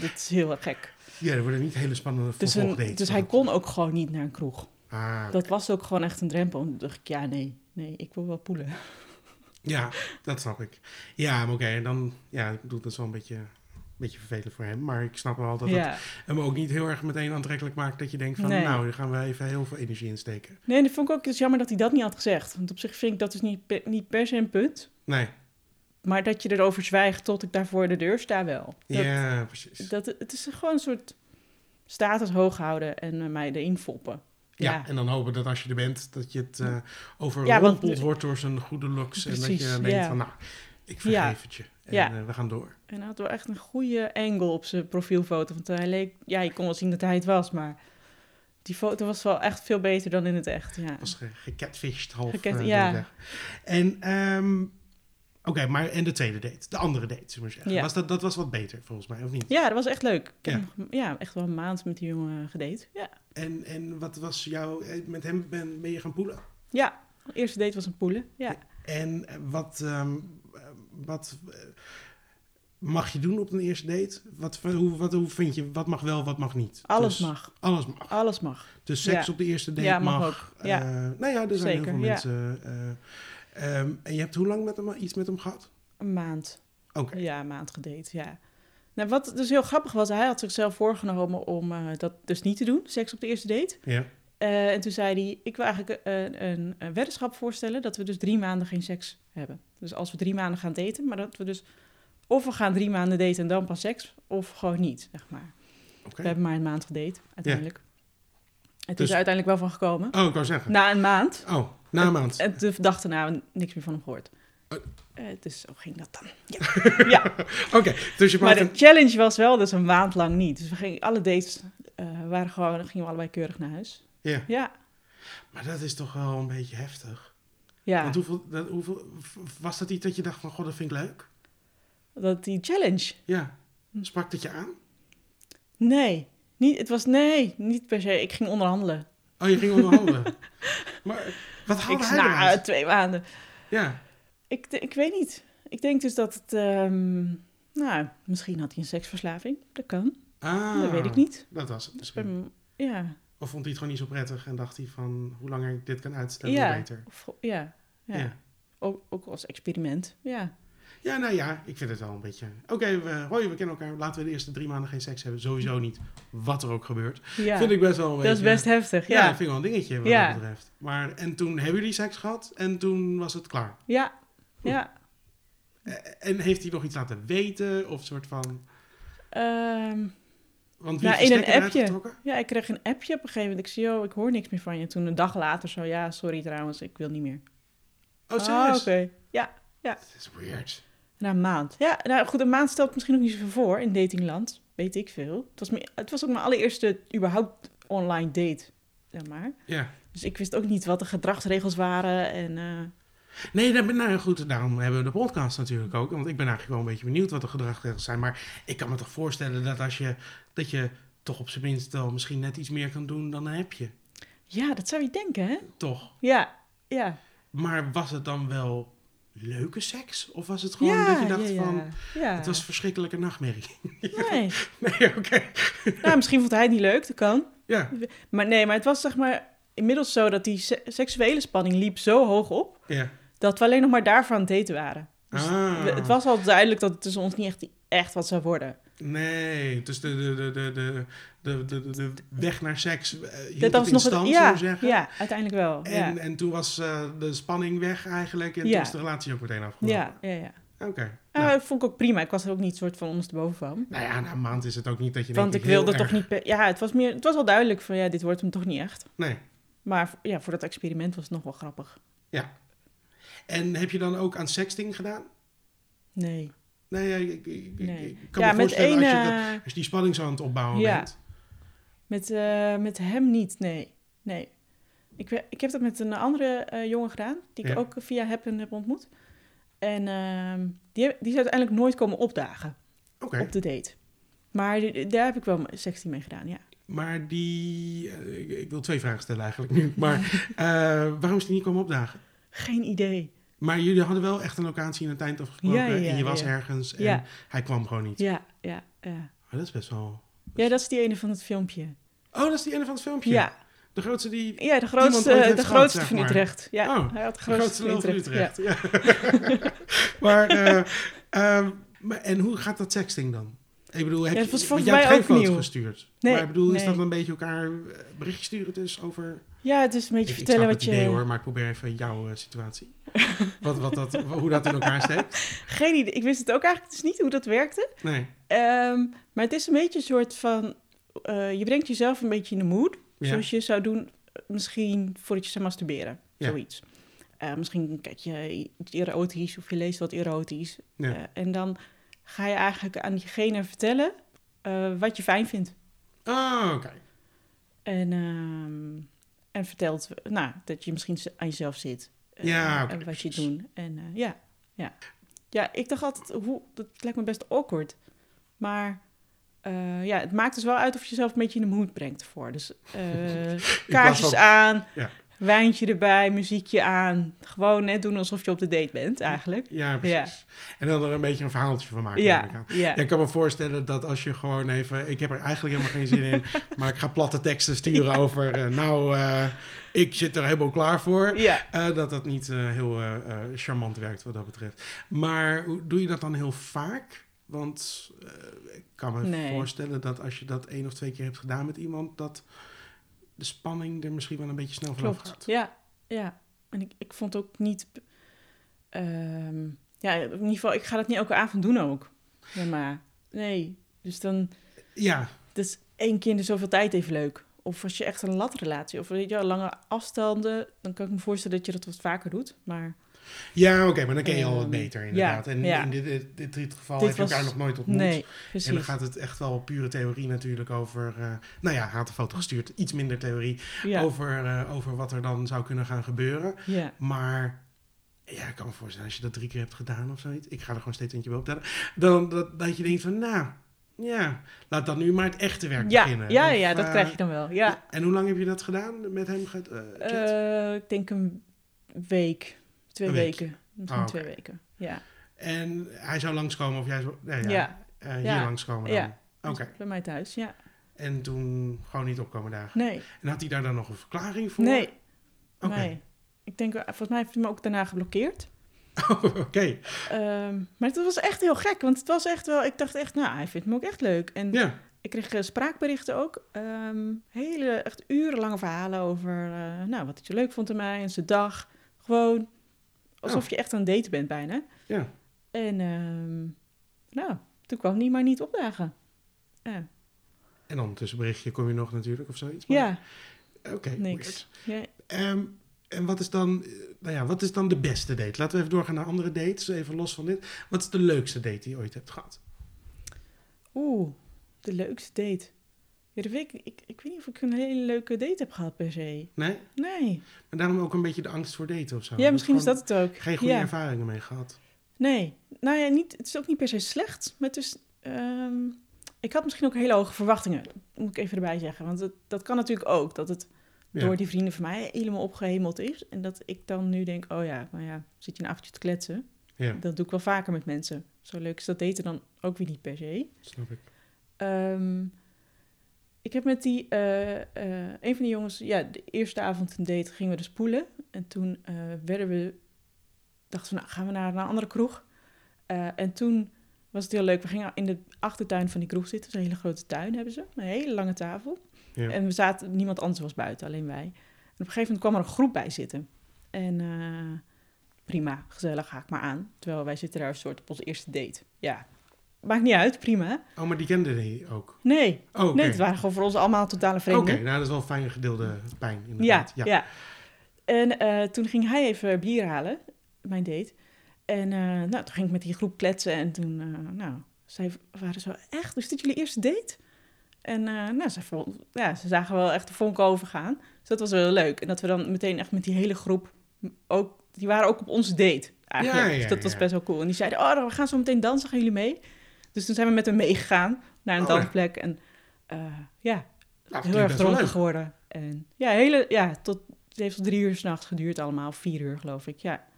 S2: Dit is heel erg gek.
S1: ja, er worden niet hele spannende
S2: Dus, een-
S1: vervolgdates.
S2: dus hij kon ook gewoon niet naar een kroeg.
S1: Ah,
S2: Dat was ook gewoon echt een drempel. En toen dacht ik, ja, nee. Nee, ik wil wel poelen.
S1: ja, dat snap ik. Ja, maar oké, en dan... Ja, ik bedoel, dat is wel een beetje, een beetje vervelend voor hem. Maar ik snap wel dat het
S2: ja.
S1: hem ook niet heel erg meteen aantrekkelijk maakt... dat je denkt van,
S2: Nee.
S1: nou, daar gaan we even heel veel energie in steken.
S2: Nee, en dat vond ik ook dus jammer dat hij dat niet had gezegd. Want op zich vind ik dat dus niet per, niet per se een punt.
S1: Nee,
S2: Maar dat je erover zwijgt tot ik daar voor de deur sta wel. Dat,
S1: ja, precies.
S2: dat, het is gewoon een soort status hoog houden en eh, mij erin foppen.
S1: ja.
S2: Ja,
S1: en dan hopen dat als je er bent... dat je het eh
S2: Ja, want-
S1: overrompeld wordt door zijn goede looks. en dat
S2: Precies,
S1: je denkt
S2: ja.
S1: van, nou, ik vergeef
S2: Ja.
S1: het je. En
S2: Ja.
S1: eh, we gaan door.
S2: En hij had wel echt een goede angle op zijn profielfoto. Want eh, hij leek... Ja, je kon wel zien dat hij het was, maar... Die foto was wel echt veel beter dan in het echt, ja.
S1: was ge- gecatfished half
S2: Gecat-
S1: eh,
S2: ja.
S1: doorweg. En ehm, oké, maar en de tweede date, de andere date, zullen we maar zeggen.
S2: Ja.
S1: Was dat, dat was wat beter volgens mij, of niet?
S2: Ja, dat was echt leuk. Ik heb
S1: Ja.
S2: nog- ja, echt wel een maand met die jongen gedate. Ja.
S1: En, en wat was jouw eh, met hem ben, ben je gaan poelen?
S2: ja, de eerste date was een poelen, ja.
S1: En eh, wat, ehm, eh, wat eh, mag je doen op een eerste date? Wat, hoe, wat, hoe vind je, wat mag wel, wat mag niet?
S2: Alles
S1: Dus-
S2: mag,
S1: Alles mag.
S2: alles mag.
S1: Dus seks
S2: Ja.
S1: op de eerste date
S2: Ja,
S1: mag.
S2: mag ook. Ja.
S1: Eh, nou ja, er zijn
S2: Zeker,
S1: heel veel
S2: ja.
S1: mensen. eh, ehm, en je hebt hoe lang met hem, iets met hem gehad?
S2: Een maand.
S1: Oké.
S2: Ja, een maand gedate, ja. Nou, wat dus heel grappig was, hij had zichzelf voorgenomen om eh, dat dus niet te doen, seks op de eerste date.
S1: Ja.
S2: Eh, en toen zei hij, ik wil eigenlijk eh, een, een, een weddenschap voorstellen dat we dus drie maanden geen seks hebben. Dus als we drie maanden gaan daten, maar dat we dus of we gaan drie maanden daten en dan pas seks, of gewoon niet, zeg maar.
S1: Oké.
S2: We hebben maar een maand gedate, uiteindelijk. Het
S1: Dus-
S2: is er uiteindelijk wel van gekomen.
S1: Oh, ik wou zeggen.
S2: Na een maand.
S1: Oh, na een maand.
S2: En de dag daarna niks meer van hem gehoord.
S1: Oh.
S2: Eh, dus zo ging dat dan.
S1: Oké, dus je
S2: Maar
S1: maakt
S2: de
S1: een...
S2: challenge was wel dus een maand lang niet. Dus we gingen, alle dates eh, waren gewoon, gingen we allebei keurig naar huis.
S1: Ja,
S2: Ja,
S1: maar dat is toch wel een beetje heftig.
S2: ja.
S1: Want hoeveel, dat, hoeveel... Was dat iets dat je dacht van, god, dat vind ik leuk?
S2: Dat die challenge.
S1: Ja.
S2: Hm.
S1: Sprak dat je aan?
S2: Nee, niet, het was nee, niet per se. Ik ging onderhandelen.
S1: Oh, je ging onderhandelen. maar wat
S2: Ik
S1: haalde hij
S2: na
S1: eruit?
S2: twee maanden.
S1: Ja.
S2: Ik, d- ik weet niet. Ik denk dus dat het, ehm, nou, misschien had hij een seksverslaving. Dat kan.
S1: Ah,
S2: Dat weet ik niet.
S1: Dat was het
S2: Dus bij
S1: misschien.
S2: m- ja,
S1: Of vond hij het gewoon niet zo prettig en dacht hij van, hoe langer ik dit kan uitstellen, hoe
S2: ja,
S1: beter.
S2: of, ja, ja.
S1: ja.
S2: Ook, ook als experiment. Ja,
S1: Ja, nou ja, ik vind het wel een beetje... Oké, we, hoi, we kennen elkaar. Laten we de eerste drie maanden geen seks hebben. Sowieso niet. Wat er ook gebeurt.
S2: ja.
S1: Vind ik best wel een
S2: dat
S1: beetje...
S2: is best heftig.
S1: Ja, dat
S2: Ja,
S1: vind ik wel een dingetje wat
S2: Ja.
S1: dat betreft. Maar, en toen hebben jullie seks gehad en toen was het klaar.
S2: ja, ja.
S1: E- En heeft hij nog iets laten weten of soort van...
S2: Ehm,
S1: Want wie
S2: Nou,
S1: heeft de
S2: in een
S1: stekker eruit
S2: appje.
S1: getrokken?
S2: ja, ik kreeg een appje op een gegeven moment. Ik zie, oh, ik hoor niks meer van je. Toen een dag later zo, ja, sorry trouwens, ik wil niet meer. Ah,
S1: Oh, serieus?
S2: oké. Ja,
S1: Dat is weird.
S2: na een maand. Ja, nou goed, een maand stelt misschien ook niet zoveel voor in datingland. Weet ik veel. Het was, me- het was ook mijn allereerste überhaupt online date, zeg maar.
S1: Ja.
S2: Dus ik wist ook niet wat de gedragsregels waren en... eh,
S1: Nee, dat, nou ja, goed, daarom hebben we de podcast natuurlijk ook. Want ik ben eigenlijk wel een beetje benieuwd wat de gedragsregels zijn. Maar ik kan me toch voorstellen dat als je... Dat je toch op zijn minst wel misschien net iets meer kan doen dan een appje.
S2: ja, dat zou je denken, hè?
S1: Toch?
S2: Ja, ja.
S1: Maar was het dan wel leuke seks? Of was het gewoon dat je dacht van...
S2: ja.
S1: Het was een verschrikkelijke nachtmerrie.
S2: Nee.
S1: Nee, oké.
S2: Nou, misschien vond hij het niet leuk, dat kan.
S1: Ja.
S2: Maar nee, maar het was zeg maar inmiddels zo dat die se- seksuele spanning liep zo hoog op
S1: Ja.
S2: dat we alleen nog maar daarvan aan het daten waren. Dus
S1: Ah.
S2: we- Het was al duidelijk dat het tussen ons niet echt, echt wat zou worden.
S1: Nee, dus de, de, de, de, de, de, de, de- de weg naar seks uh, hield
S2: Dit
S1: het in stand,
S2: ja,
S1: zullen we zeggen.
S2: ja, uiteindelijk wel.
S1: En,
S2: ja.
S1: en toen was eh, de spanning weg eigenlijk en toen
S2: Ja.
S1: is de relatie ook meteen afgelopen.
S2: ja, ja, ja.
S1: Oké.
S2: Ah,
S1: eh, Nou,
S2: dat vond ik ook prima. Ik was er ook niet soort van ondersteboven van.
S1: nou ja, na een maand is het ook niet dat je
S2: Want ik
S1: denkt,
S2: wilde
S1: heel
S2: toch
S1: erg-
S2: niet... per- Ja, het was, meer, het was al duidelijk van ja, dit wordt hem toch niet echt.
S1: Nee.
S2: Maar v- ja, voor dat experiment was het nog wel grappig.
S1: En heb je dan ook aan sexting gedaan?
S2: Nee.
S1: Nee, ik, ik, ik,
S2: Nee.
S1: ik kan
S2: Ja,
S1: me
S2: met
S1: voorstellen
S2: één...
S1: als, je, dat-
S2: eh,
S1: als je Dus die spanning zo aan het opbouwen
S2: Ja.
S1: bent.
S2: Met, eh, met hem niet, nee. nee. Ik, we- ik heb dat met een andere eh, jongen gedaan, die ik
S1: Ja.
S2: ook via Happen heb ontmoet. En ehm, die, heb- die is uiteindelijk nooit komen opdagen
S1: Oké,
S2: op de date. Maar die- daar heb ik wel sexting mee gedaan, ja.
S1: maar die... eh, Ik, ik wil twee vragen stellen eigenlijk nu. Maar eh, waarom is die niet komen opdagen?
S2: Geen idee.
S1: Maar jullie hadden wel echt een locatie in het eind afgesproken.
S2: Ja, ja, ja,
S1: en je was
S2: ja.
S1: ergens en
S2: Ja.
S1: hij kwam gewoon niet.
S2: Ja, ja, ja.
S1: Maar dat is best wel...
S2: Ja, dat is die ene van het filmpje.
S1: Oh, dat is die ene van het filmpje.
S2: Ja,
S1: De grootste die... De
S2: ja de
S1: ooit heeft
S2: grootste, de
S1: gehad,
S2: grootste
S1: zeg
S2: van
S1: maar.
S2: Utrecht. Ja,
S1: Oh,
S2: hij had de
S1: grootste
S2: grootste
S1: lul
S2: van
S1: van
S2: Utrecht.
S1: Utrecht. Ja. maar... eh, ehm, maar- en hoe gaat dat sexting dan? Ik bedoel, heb
S2: Ja,
S1: je,
S2: dat was
S1: want
S2: volgens
S1: jij hebt
S2: mij
S1: geen
S2: ook
S1: foto
S2: nieuw.
S1: gestuurd.
S2: Nee,
S1: maar ik bedoel, is
S2: nee.
S1: dat een beetje elkaar eh, berichtjes sturen dus over...
S2: Ja. ja, het is een beetje
S1: Ik, ik snap
S2: vertellen
S1: het
S2: wat je...
S1: idee hoor, maar ik probeer even jouw eh, situatie. wat, wat dat, hoe dat in elkaar steekt.
S2: Geen idee. Ik wist het ook eigenlijk dus niet hoe dat werkte.
S1: Nee.
S2: Ehm, maar het is een beetje een soort van... eh, je brengt jezelf een beetje in de mood.
S1: Ja.
S2: Zoals je zou doen eh, misschien voordat je zou masturberen.
S1: Ja.
S2: Zoiets. Eh, misschien kijk je iets erotisch of je leest wat erotisch.
S1: Ja.
S2: Eh, en dan ga je eigenlijk aan diegene vertellen eh, wat je fijn vindt.
S1: Oh, oké.
S2: En, ehm, en vertelt nou, dat je misschien aan jezelf zit. Eh,
S1: Ja, oké,
S2: En wat je
S1: precies.
S2: doet. En eh, ja, ja. Ja, ik dacht altijd, hoe, dat lijkt me best awkward. Maar eh, ja, het maakt dus wel uit of je jezelf een beetje in de mood brengt voor. Dus eh,
S1: plaats
S2: kaarsjes
S1: van-
S2: aan,
S1: Ja.
S2: wijntje erbij, muziekje aan. Gewoon net doen alsof je op de date bent eigenlijk.
S1: Ja, precies. En dan er een beetje een verhaaltje van maken. neem ik aan.
S2: Ja, ja.
S1: Ja, ik kan me voorstellen dat als je gewoon even... Ik heb er eigenlijk helemaal geen zin in, maar ik ga platte teksten sturen over... eh, nou, eh, ik zit er helemaal klaar voor.
S2: ja.
S1: Eh, dat dat niet eh, heel eh, eh, charmant werkt wat dat betreft. Maar hoe- doe je dat dan heel vaak? Want eh, ik kan me
S2: Nee.
S1: voorstellen dat als je dat één of twee keer hebt gedaan met iemand... dat de spanning er misschien wel een beetje snel vanaf
S2: Klopt,
S1: gaat.
S2: ja. ja. En ik, ik vond ook niet... ehm, ja, in ieder geval, ik ga dat niet elke avond doen ook. Ja, maar nee. Dus dan...
S1: Ja,
S2: Dat is één keer in de zoveel tijd even leuk. Of als je echt een latrelatie... Of weet je wel, lange afstanden... Dan kan ik me voorstellen dat je dat wat vaker doet. Maar
S1: ja oké, maar dan ken je al wat
S2: Ehm,
S1: beter inderdaad. en
S2: ja.
S1: in dit, dit, dit, geval
S2: Dit
S1: heb je elkaar
S2: was-
S1: nog nooit ontmoet.
S2: nee,
S1: En dan
S2: precies.
S1: gaat het echt wel op pure theorie natuurlijk over... eh, nou ja, haat de foto gestuurd, iets minder theorie...
S2: Ja,
S1: Over, eh, over wat er dan zou kunnen gaan gebeuren.
S2: ja.
S1: Maar ja, ik kan me voorstellen, als je dat drie keer hebt gedaan of zoiets, ik ga er gewoon steeds eentje bij optellen, dan dat, dat je denkt van, nou, ja, laat dan nu maar het echte werk
S2: Ja, ja,
S1: beginnen.
S2: ja,
S1: Of, eh,
S2: dat krijg je dan wel. Ja.
S1: En hoe lang heb je dat gedaan met hem? Ge- eh, chat?
S2: Eh, ik denk een week. Twee
S1: Een week.
S2: weken. Misschien
S1: Ah,
S2: twee
S1: oké.
S2: weken. Ja.
S1: en hij zou langskomen of jij zou, nee, ja,
S2: Ja.
S1: eh, hier
S2: Ja.
S1: langskomen dan.
S2: Ja.
S1: Oké,
S2: Bij mij thuis, ja.
S1: en toen gewoon niet opkomen dagen.
S2: Nee.
S1: En had hij daar dan nog een verklaring voor?
S2: Nee,
S1: Oké.
S2: Nee. Ik denk, eh, volgens mij heeft hij me ook daarna geblokkeerd.
S1: Oh, Oké,
S2: Ehm, maar het was echt heel gek, want het was echt wel... Ik dacht echt, nou, hij vindt me ook echt leuk. En
S1: ja.
S2: ik kreeg eh, spraakberichten ook. ehm, hele, echt urenlange verhalen over eh, nou, wat hij zo leuk vond aan mij en zijn dag. Gewoon alsof
S1: Oh.
S2: je echt aan het daten bent bijna.
S1: Ja.
S2: En ehm, nou, toen kwam hij maar niet opdagen. Eh, Ja,
S1: En dan tussenberichtje kom je nog natuurlijk of zoiets. maar-
S2: ja
S1: Oké, weird.
S2: niks. Ja,
S1: Ehm, en wat is, dan, eh, nou ja, wat is dan de beste date? Laten we even doorgaan naar andere dates, dus even los van dit. Wat is de leukste date die je ooit hebt gehad?
S2: Oeh, de leukste date. Ja, dat weet ik, ik, ik weet niet of ik een hele leuke date heb gehad per se.
S1: Nee?
S2: Nee.
S1: Maar daarom ook een beetje de angst voor daten of zo.
S2: ja, misschien is dat
S1: Gewoon
S2: het ook.
S1: Geen goede
S2: ja.
S1: ervaringen mee gehad.
S2: Nee. Nou ja, niet, het is ook niet per se slecht. Maar het is, ehm, ik had misschien ook hele hoge verwachtingen. Dat moet ik even erbij zeggen. Want het- dat kan natuurlijk ook. Dat het
S1: Ja.
S2: door die vrienden van mij helemaal opgehemeld is. En dat ik dan nu denk, oh ja, nou ja, zit je een avondje te kletsen.
S1: Ja.
S2: Dat doe ik wel vaker met mensen. Zo leuk is dat daten dan ook weer niet per se.
S1: Snap ik.
S2: Ehm, ik heb met die, eh, eh, een van die jongens, ja, de eerste avond een date gingen we dus poelen. En toen eh, werden we, dachten we, nou gaan we naar een andere kroeg. Eh, en toen was het heel leuk. We gingen in de achtertuin van die kroeg zitten. Dus een hele grote tuin hebben ze. Een hele lange tafel.
S1: Ja.
S2: En we zaten, niemand anders was buiten, alleen wij. En op een gegeven moment kwam er een groep bij zitten. En eh, prima, gezellig, haak maar aan. Terwijl wij zitten daar een soort op onze eerste date. Ja, maakt niet uit, prima.
S1: Oh, maar die kende hij ook.
S2: Nee,
S1: Oh, oké.
S2: Nee, het waren gewoon voor ons allemaal totale
S1: Oké,
S2: vreemden.
S1: nou dat is wel een fijne gedeelde pijn
S2: ja,
S1: inderdaad.
S2: ja, En eh, toen ging hij even bier halen, mijn date. En eh, nou, toen ging ik met die groep kletsen en toen, eh, nou, zij waren zo, echt, is dit jullie eerste date? En eh, nou, ze, vond- ja, ze zagen wel echt de vonken overgaan. Dus dat was wel heel leuk. En dat we dan meteen echt met die hele groep, ook, die waren ook op onze date eigenlijk.
S1: Ja, ja,
S2: dus dat was
S1: ja.
S2: best wel cool. En die zeiden, oh, dan- we gaan zo meteen dansen, gaan jullie mee? Dus toen zijn we met hem meegegaan naar een
S1: Oh, ja.
S2: dansplek. En eh, ja,
S1: dat
S2: heel
S1: Nou, klinkt
S2: erg
S1: best wel
S2: dronken
S1: leuk.
S2: geworden. En ja, hele, ja tot, het heeft tot drie uur s'nachts geduurd allemaal. of Vier uur, geloof ik, ja.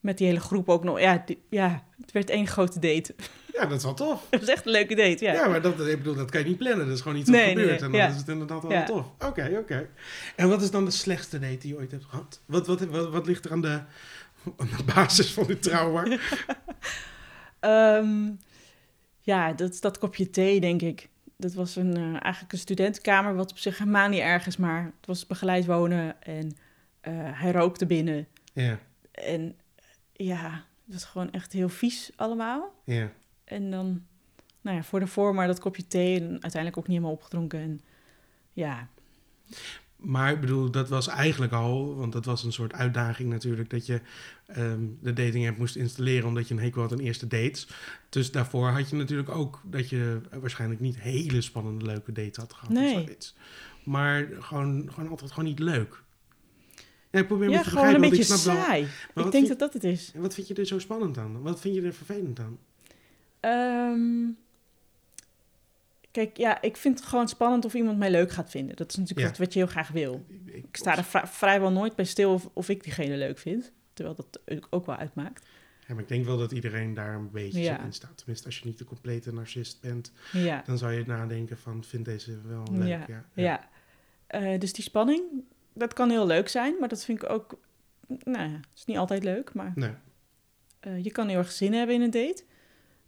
S2: Met die hele groep ook nog. Ja, die- ja het werd één grote date.
S1: Ja, dat is wel tof.
S2: het was echt een leuke date, ja.
S1: Ja, maar dat, ik bedoel, dat kan je niet plannen. Dat is gewoon iets wat
S2: Nee, nee,
S1: gebeurt.
S2: nee,
S1: En dan
S2: ja.
S1: is het inderdaad wel
S2: Ja.
S1: tof. Oké, oké. En wat is dan de slechtste date die je ooit hebt gehad? Wat, wat, wat, wat ligt er aan de, aan de basis van dit trauma?
S2: Ehm, ja, dat, dat kopje thee, denk ik. Dat was een, eh, eigenlijk een studentenkamer, wat op zich helemaal niet erg is. Maar het was begeleid wonen en eh, hij rookte binnen.
S1: Ja,
S2: En ja, het was gewoon echt heel vies allemaal.
S1: ja.
S2: En dan, nou ja, voor de vorm maar dat kopje thee en uiteindelijk ook niet helemaal opgedronken. En ja,
S1: Maar ik bedoel, dat was eigenlijk al, want dat was een soort uitdaging natuurlijk, dat je ehm, de dating app moest installeren omdat je een hekel had aan eerste dates. Dus daarvoor had je natuurlijk ook dat je waarschijnlijk niet hele spannende leuke dates had gehad of
S2: Nee.
S1: zoiets. Maar gewoon, gewoon altijd gewoon niet leuk. Ja, ik probeer me
S2: ja
S1: te
S2: gewoon een
S1: begrijpen,
S2: beetje
S1: want ik snap wel...
S2: saai.
S1: wat vind-
S2: Ik denk dat dat het is.
S1: En wat vind je er zo spannend aan? Wat vind je er vervelend aan?
S2: Ehm, kijk, ja, ik vind het gewoon spannend of iemand mij leuk gaat vinden. Dat is natuurlijk
S1: Ja.
S2: wat- wat je heel graag wil.
S1: Ik,
S2: Ik sta er vri- vrijwel nooit bij stil of, of ik diegene leuk vind. Terwijl dat ook wel uitmaakt.
S1: ja, maar ik denk wel dat iedereen daar een beetje
S2: Ja.
S1: zo in staat. Tenminste, als je niet de complete narcist bent,
S2: Ja,
S1: dan zou je nadenken van, vind deze wel leuk?
S2: Ja,
S1: ja.
S2: ja. Eh, dus die spanning, dat kan heel leuk zijn. Maar dat vind ik ook, nou ja, het is niet altijd leuk. Maar
S1: Nee.
S2: Eh, je kan heel erg zin hebben in een date.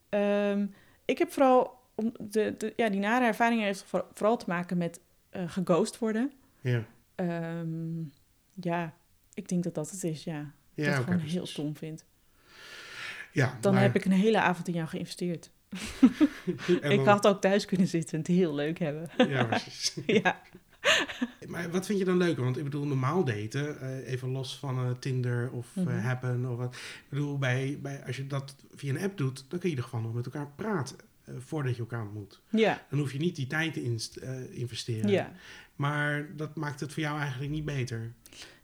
S2: Ehm, ik heb vooral, om de, de- ja, die nare ervaringen heeft voor- vooral te maken met eh geghost worden.
S1: Ja,
S2: Ehm, ja, ik denk dat dat het is, ja.
S1: ja
S2: dat ik
S1: oké,
S2: gewoon
S1: precies.
S2: heel stom vind.
S1: Ja,
S2: Dan
S1: maar-
S2: heb ik een hele avond in jou geïnvesteerd.
S1: en dan-
S2: Ik had ook thuis kunnen zitten en het heel leuk hebben.
S1: Ja, precies.
S2: ja.
S1: maar wat vind je dan leuker? Want ik bedoel, normaal daten, eh, even los van eh, Tinder of eh,
S2: Mhm.
S1: Happen of wat. Ik bedoel, bij, bij, als je dat via een app doet, dan kun je in ieder geval nog met elkaar praten eh, voordat je elkaar ontmoet.
S2: Ja,
S1: Dan hoef je niet die tijd te inst- eh, investeren.
S2: ja.
S1: Maar dat maakt het voor jou eigenlijk niet beter.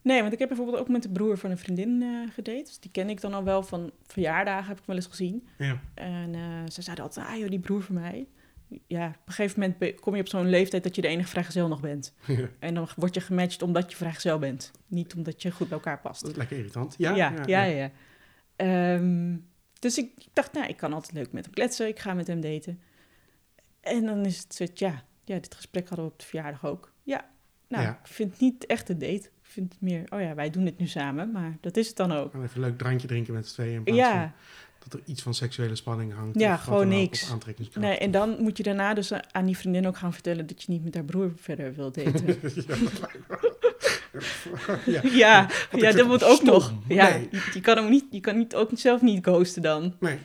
S2: Nee, want ik heb bijvoorbeeld ook met de broer van een vriendin eh gedate. Dus die ken ik dan al wel van verjaardagen, heb ik wel eens gezien.
S1: Ja,
S2: En eh, ze zeiden altijd, ah joh, die broer van mij. Ja, op een gegeven moment be- kom je op zo'n leeftijd dat je de enige vrijgezel nog bent. En dan word je gematcht omdat je vrijgezel bent. Niet omdat je goed bij elkaar past.
S1: dat is lekker irritant. Ja,
S2: ja, ja. ja, Ehm, dus ik dacht, nou, ik kan altijd leuk met hem kletsen. Ik ga met hem daten. En dan is het soort, ja, ja, dit gesprek hadden we op de verjaardag ook. Ja, nou,
S1: Ja.
S2: ik vind het niet echt een date. Ik vind het meer, oh ja, wij doen dit nu samen. Maar dat is het dan ook.
S1: Gewoon even een leuk drankje drinken met z'n tweeën. In plaats
S2: Ja,
S1: van dat er iets van seksuele spanning hangt.
S2: Ja,
S1: of wat
S2: gewoon
S1: dan ook,
S2: niks.
S1: of aantrekkingskracht.
S2: Nee, en dan moet je daarna dus aan die vriendin ook gaan vertellen dat je niet met haar broer verder wilt daten.
S1: ja, dat lijkt me- ja.
S2: ja,
S1: ik
S2: ja
S1: vind
S2: dat
S1: het
S2: moet ook
S1: stom.
S2: nog. Ja,
S1: Nee.
S2: je, je kan hem niet, je kan niet, ook zelf niet ghosten dan.
S1: Nee.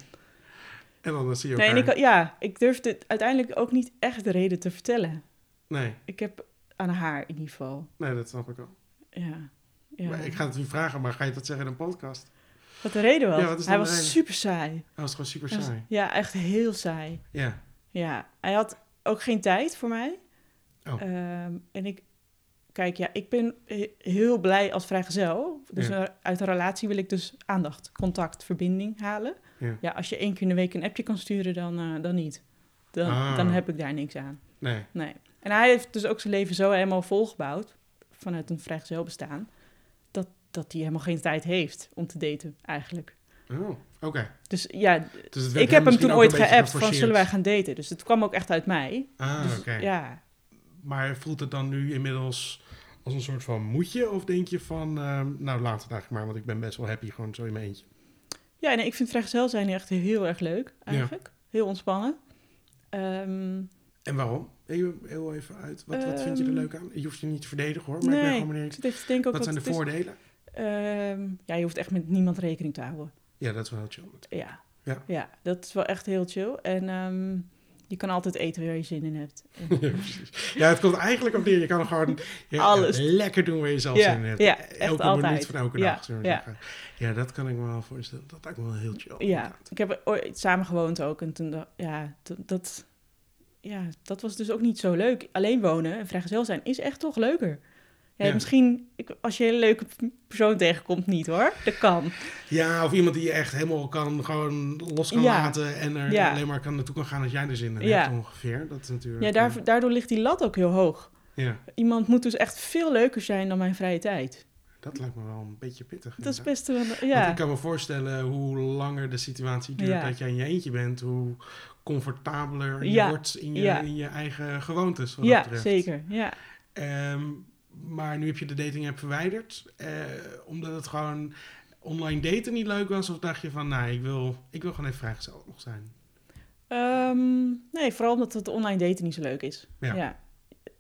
S1: En dan zie je
S2: Nee,
S1: elkaar.
S2: en ik, ja, ik durfde het uiteindelijk ook niet echt de reden te vertellen.
S1: nee,
S2: Ik heb aan haar in ieder geval.
S1: nee, dat snap ik al.
S2: Ja. ja.
S1: Maar ik ga het u vragen, maar ga je dat zeggen in een podcast?
S2: Wat de reden was.
S1: Ja, wat is
S2: hij
S1: dan de
S2: was
S1: reden?
S2: super saai.
S1: Dat is gewoon super
S2: Hij was-
S1: saai.
S2: Ja, echt heel saai.
S1: Ja.
S2: Ja, hij had ook geen tijd voor mij.
S1: Oh.
S2: Ehm, en ik, kijk, ja, ik ben he- heel blij als vrijgezel. Dus
S1: Ja.
S2: een- uit een relatie wil ik dus aandacht, contact, verbinding halen.
S1: Ja.
S2: als je één keer in de week een appje kan sturen, dan, eh, dan niet. Dan,
S1: Ah.
S2: dan heb ik daar niks aan.
S1: Nee.
S2: Nee. En hij heeft dus ook zijn leven zo helemaal volgebouwd, vanuit een vrijgezel bestaan, dat, dat hij helemaal geen tijd heeft om te daten, eigenlijk.
S1: Oh, oké.
S2: Dus ja,
S1: Dus het werd
S2: ik heb hem
S1: misschien
S2: toen
S1: ook
S2: ooit
S1: een beetje
S2: geappt van
S1: geforceerd.
S2: zullen wij gaan daten. Dus het kwam ook echt uit mij.
S1: Ah,
S2: dus
S1: oké.
S2: ja,
S1: Maar voelt het dan nu inmiddels als een soort van moetje? Of denk je van, ehm, nou laat het eigenlijk maar, want ik ben best wel happy gewoon zo in mijn eentje.
S2: Ja, nee, ik vind vrijgezel zijn echt heel erg leuk, eigenlijk. Heel ontspannen. Ehm,
S1: En waarom? Heel, heel even uit. Wat, wat vind je er
S2: Ehm,
S1: leuk aan? Je hoeft je niet te verdedigen hoor, maar ik ben
S2: nee,
S1: gewoon
S2: ik
S1: benieuwd.
S2: zit even te denken ook
S1: Wat
S2: wat,
S1: zijn de
S2: het is.
S1: voordelen?
S2: Ehm, ja, je hoeft echt met niemand rekening te houden.
S1: Ja, dat is wel heel chill.
S2: Ja,
S1: Ja.
S2: ja dat is wel echt heel chill. En ehm, Je kan altijd eten waar je zin in hebt.
S1: Ja, het komt eigenlijk op neer. Je kan gewoon je-
S2: Alles.
S1: lekker doen waar je zelf
S2: Ja,
S1: zin in hebt.
S2: ja, echt
S1: elke minuut
S2: altijd.
S1: van elke
S2: Ja,
S1: dag. zullen we
S2: ja.
S1: zeggen. ja, dat kan ik me wel voorstellen. Dat lijkt me wel heel chill.
S2: Ja, ik heb ooit samen gewoond ook. En toen dacht ja, d- dat, ja, dat was dus ook niet zo leuk. Alleen wonen en vrijgezel zijn is echt toch leuker. Ja,
S1: Ja.
S2: Misschien ik- als je een leuke p- persoon tegenkomt, niet hoor. Dat kan.
S1: Ja, of iemand die je echt helemaal kan, gewoon los kan
S2: Ja.
S1: laten en er
S2: Ja.
S1: alleen maar kan naartoe kan gaan als jij er zin in
S2: Ja.
S1: hebt ongeveer. Dat is natuurlijk... eh,
S2: Ja, daar, daardoor ligt die lat ook heel hoog.
S1: ja,
S2: Iemand moet dus echt veel leuker zijn dan mijn vrije tijd.
S1: dat lijkt me wel een beetje pittig.
S2: Dat is
S1: inderdaad.
S2: best wel.
S1: Want
S2: Ja,
S1: ik kan me voorstellen hoe langer de situatie duurt
S2: Ja.
S1: dat jij in je eentje bent, hoe comfortabeler je
S2: Ja.
S1: wordt in je,
S2: Ja.
S1: in je eigen gewoontes. wat dat
S2: ja
S1: betreft.
S2: zeker. Ja.
S1: Ehm, maar nu heb je de dating app verwijderd, eh, omdat het gewoon online daten niet leuk was, of dacht je van, nou, ik wil, ik wil gewoon even vrijgezel nog zijn.
S2: Ehm, nee, vooral omdat het online daten niet zo leuk is.
S1: Ja.
S2: Ja.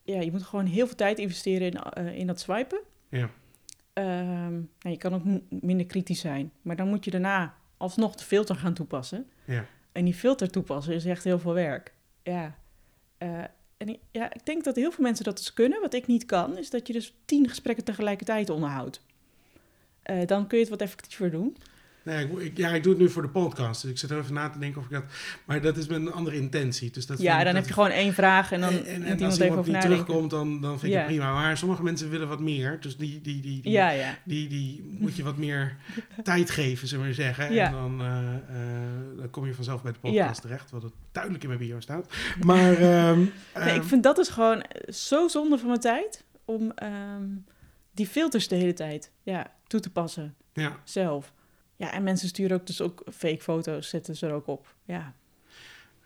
S2: Ja. je moet gewoon heel veel tijd investeren in, eh, in dat swipen.
S1: Ja.
S2: Ehm, nou, je kan ook m- minder kritisch zijn. Maar dan moet je daarna alsnog de filter gaan toepassen.
S1: Ja.
S2: En die filter toepassen is echt heel veel werk. Ja. Eh, en ik, ja, ik denk dat heel veel mensen dat dus kunnen. Wat ik niet kan, is dat je dus tien gesprekken tegelijkertijd onderhoudt. Eh, dan kun je het wat effectiever doen.
S1: Nee, ik, ik- ja, ik doe het nu voor de podcast, dus ik zit er even na te denken of ik dat... Maar dat is met een andere intentie, dus dat vind
S2: ja,
S1: ik-
S2: dan
S1: dat-
S2: heb je gewoon één vraag en dan
S1: en, en- en
S2: moet
S1: als
S2: iemand even
S1: iemand
S2: over
S1: niet
S2: nadenken.
S1: terugkomt, dan, dan vind ik
S2: Ja.
S1: het prima. Maar sommige mensen willen wat meer, dus die, die, die, die,
S2: Ja, ja.
S1: die, die moet je wat meer tijd geven, zullen we maar zeggen.
S2: Ja.
S1: En dan, eh, eh, dan kom je vanzelf bij de podcast terecht, wat het duidelijk in mijn bio staat. Maar ehm,
S2: Nee,
S1: ehm,
S2: ik vind dat is gewoon eh, zo zonde van mijn tijd om ehm, die filters de hele tijd ja, toe te passen
S1: ja,
S2: zelf. Ja, en mensen sturen ook dus ook fake foto's, zetten ze er ook op. Ja.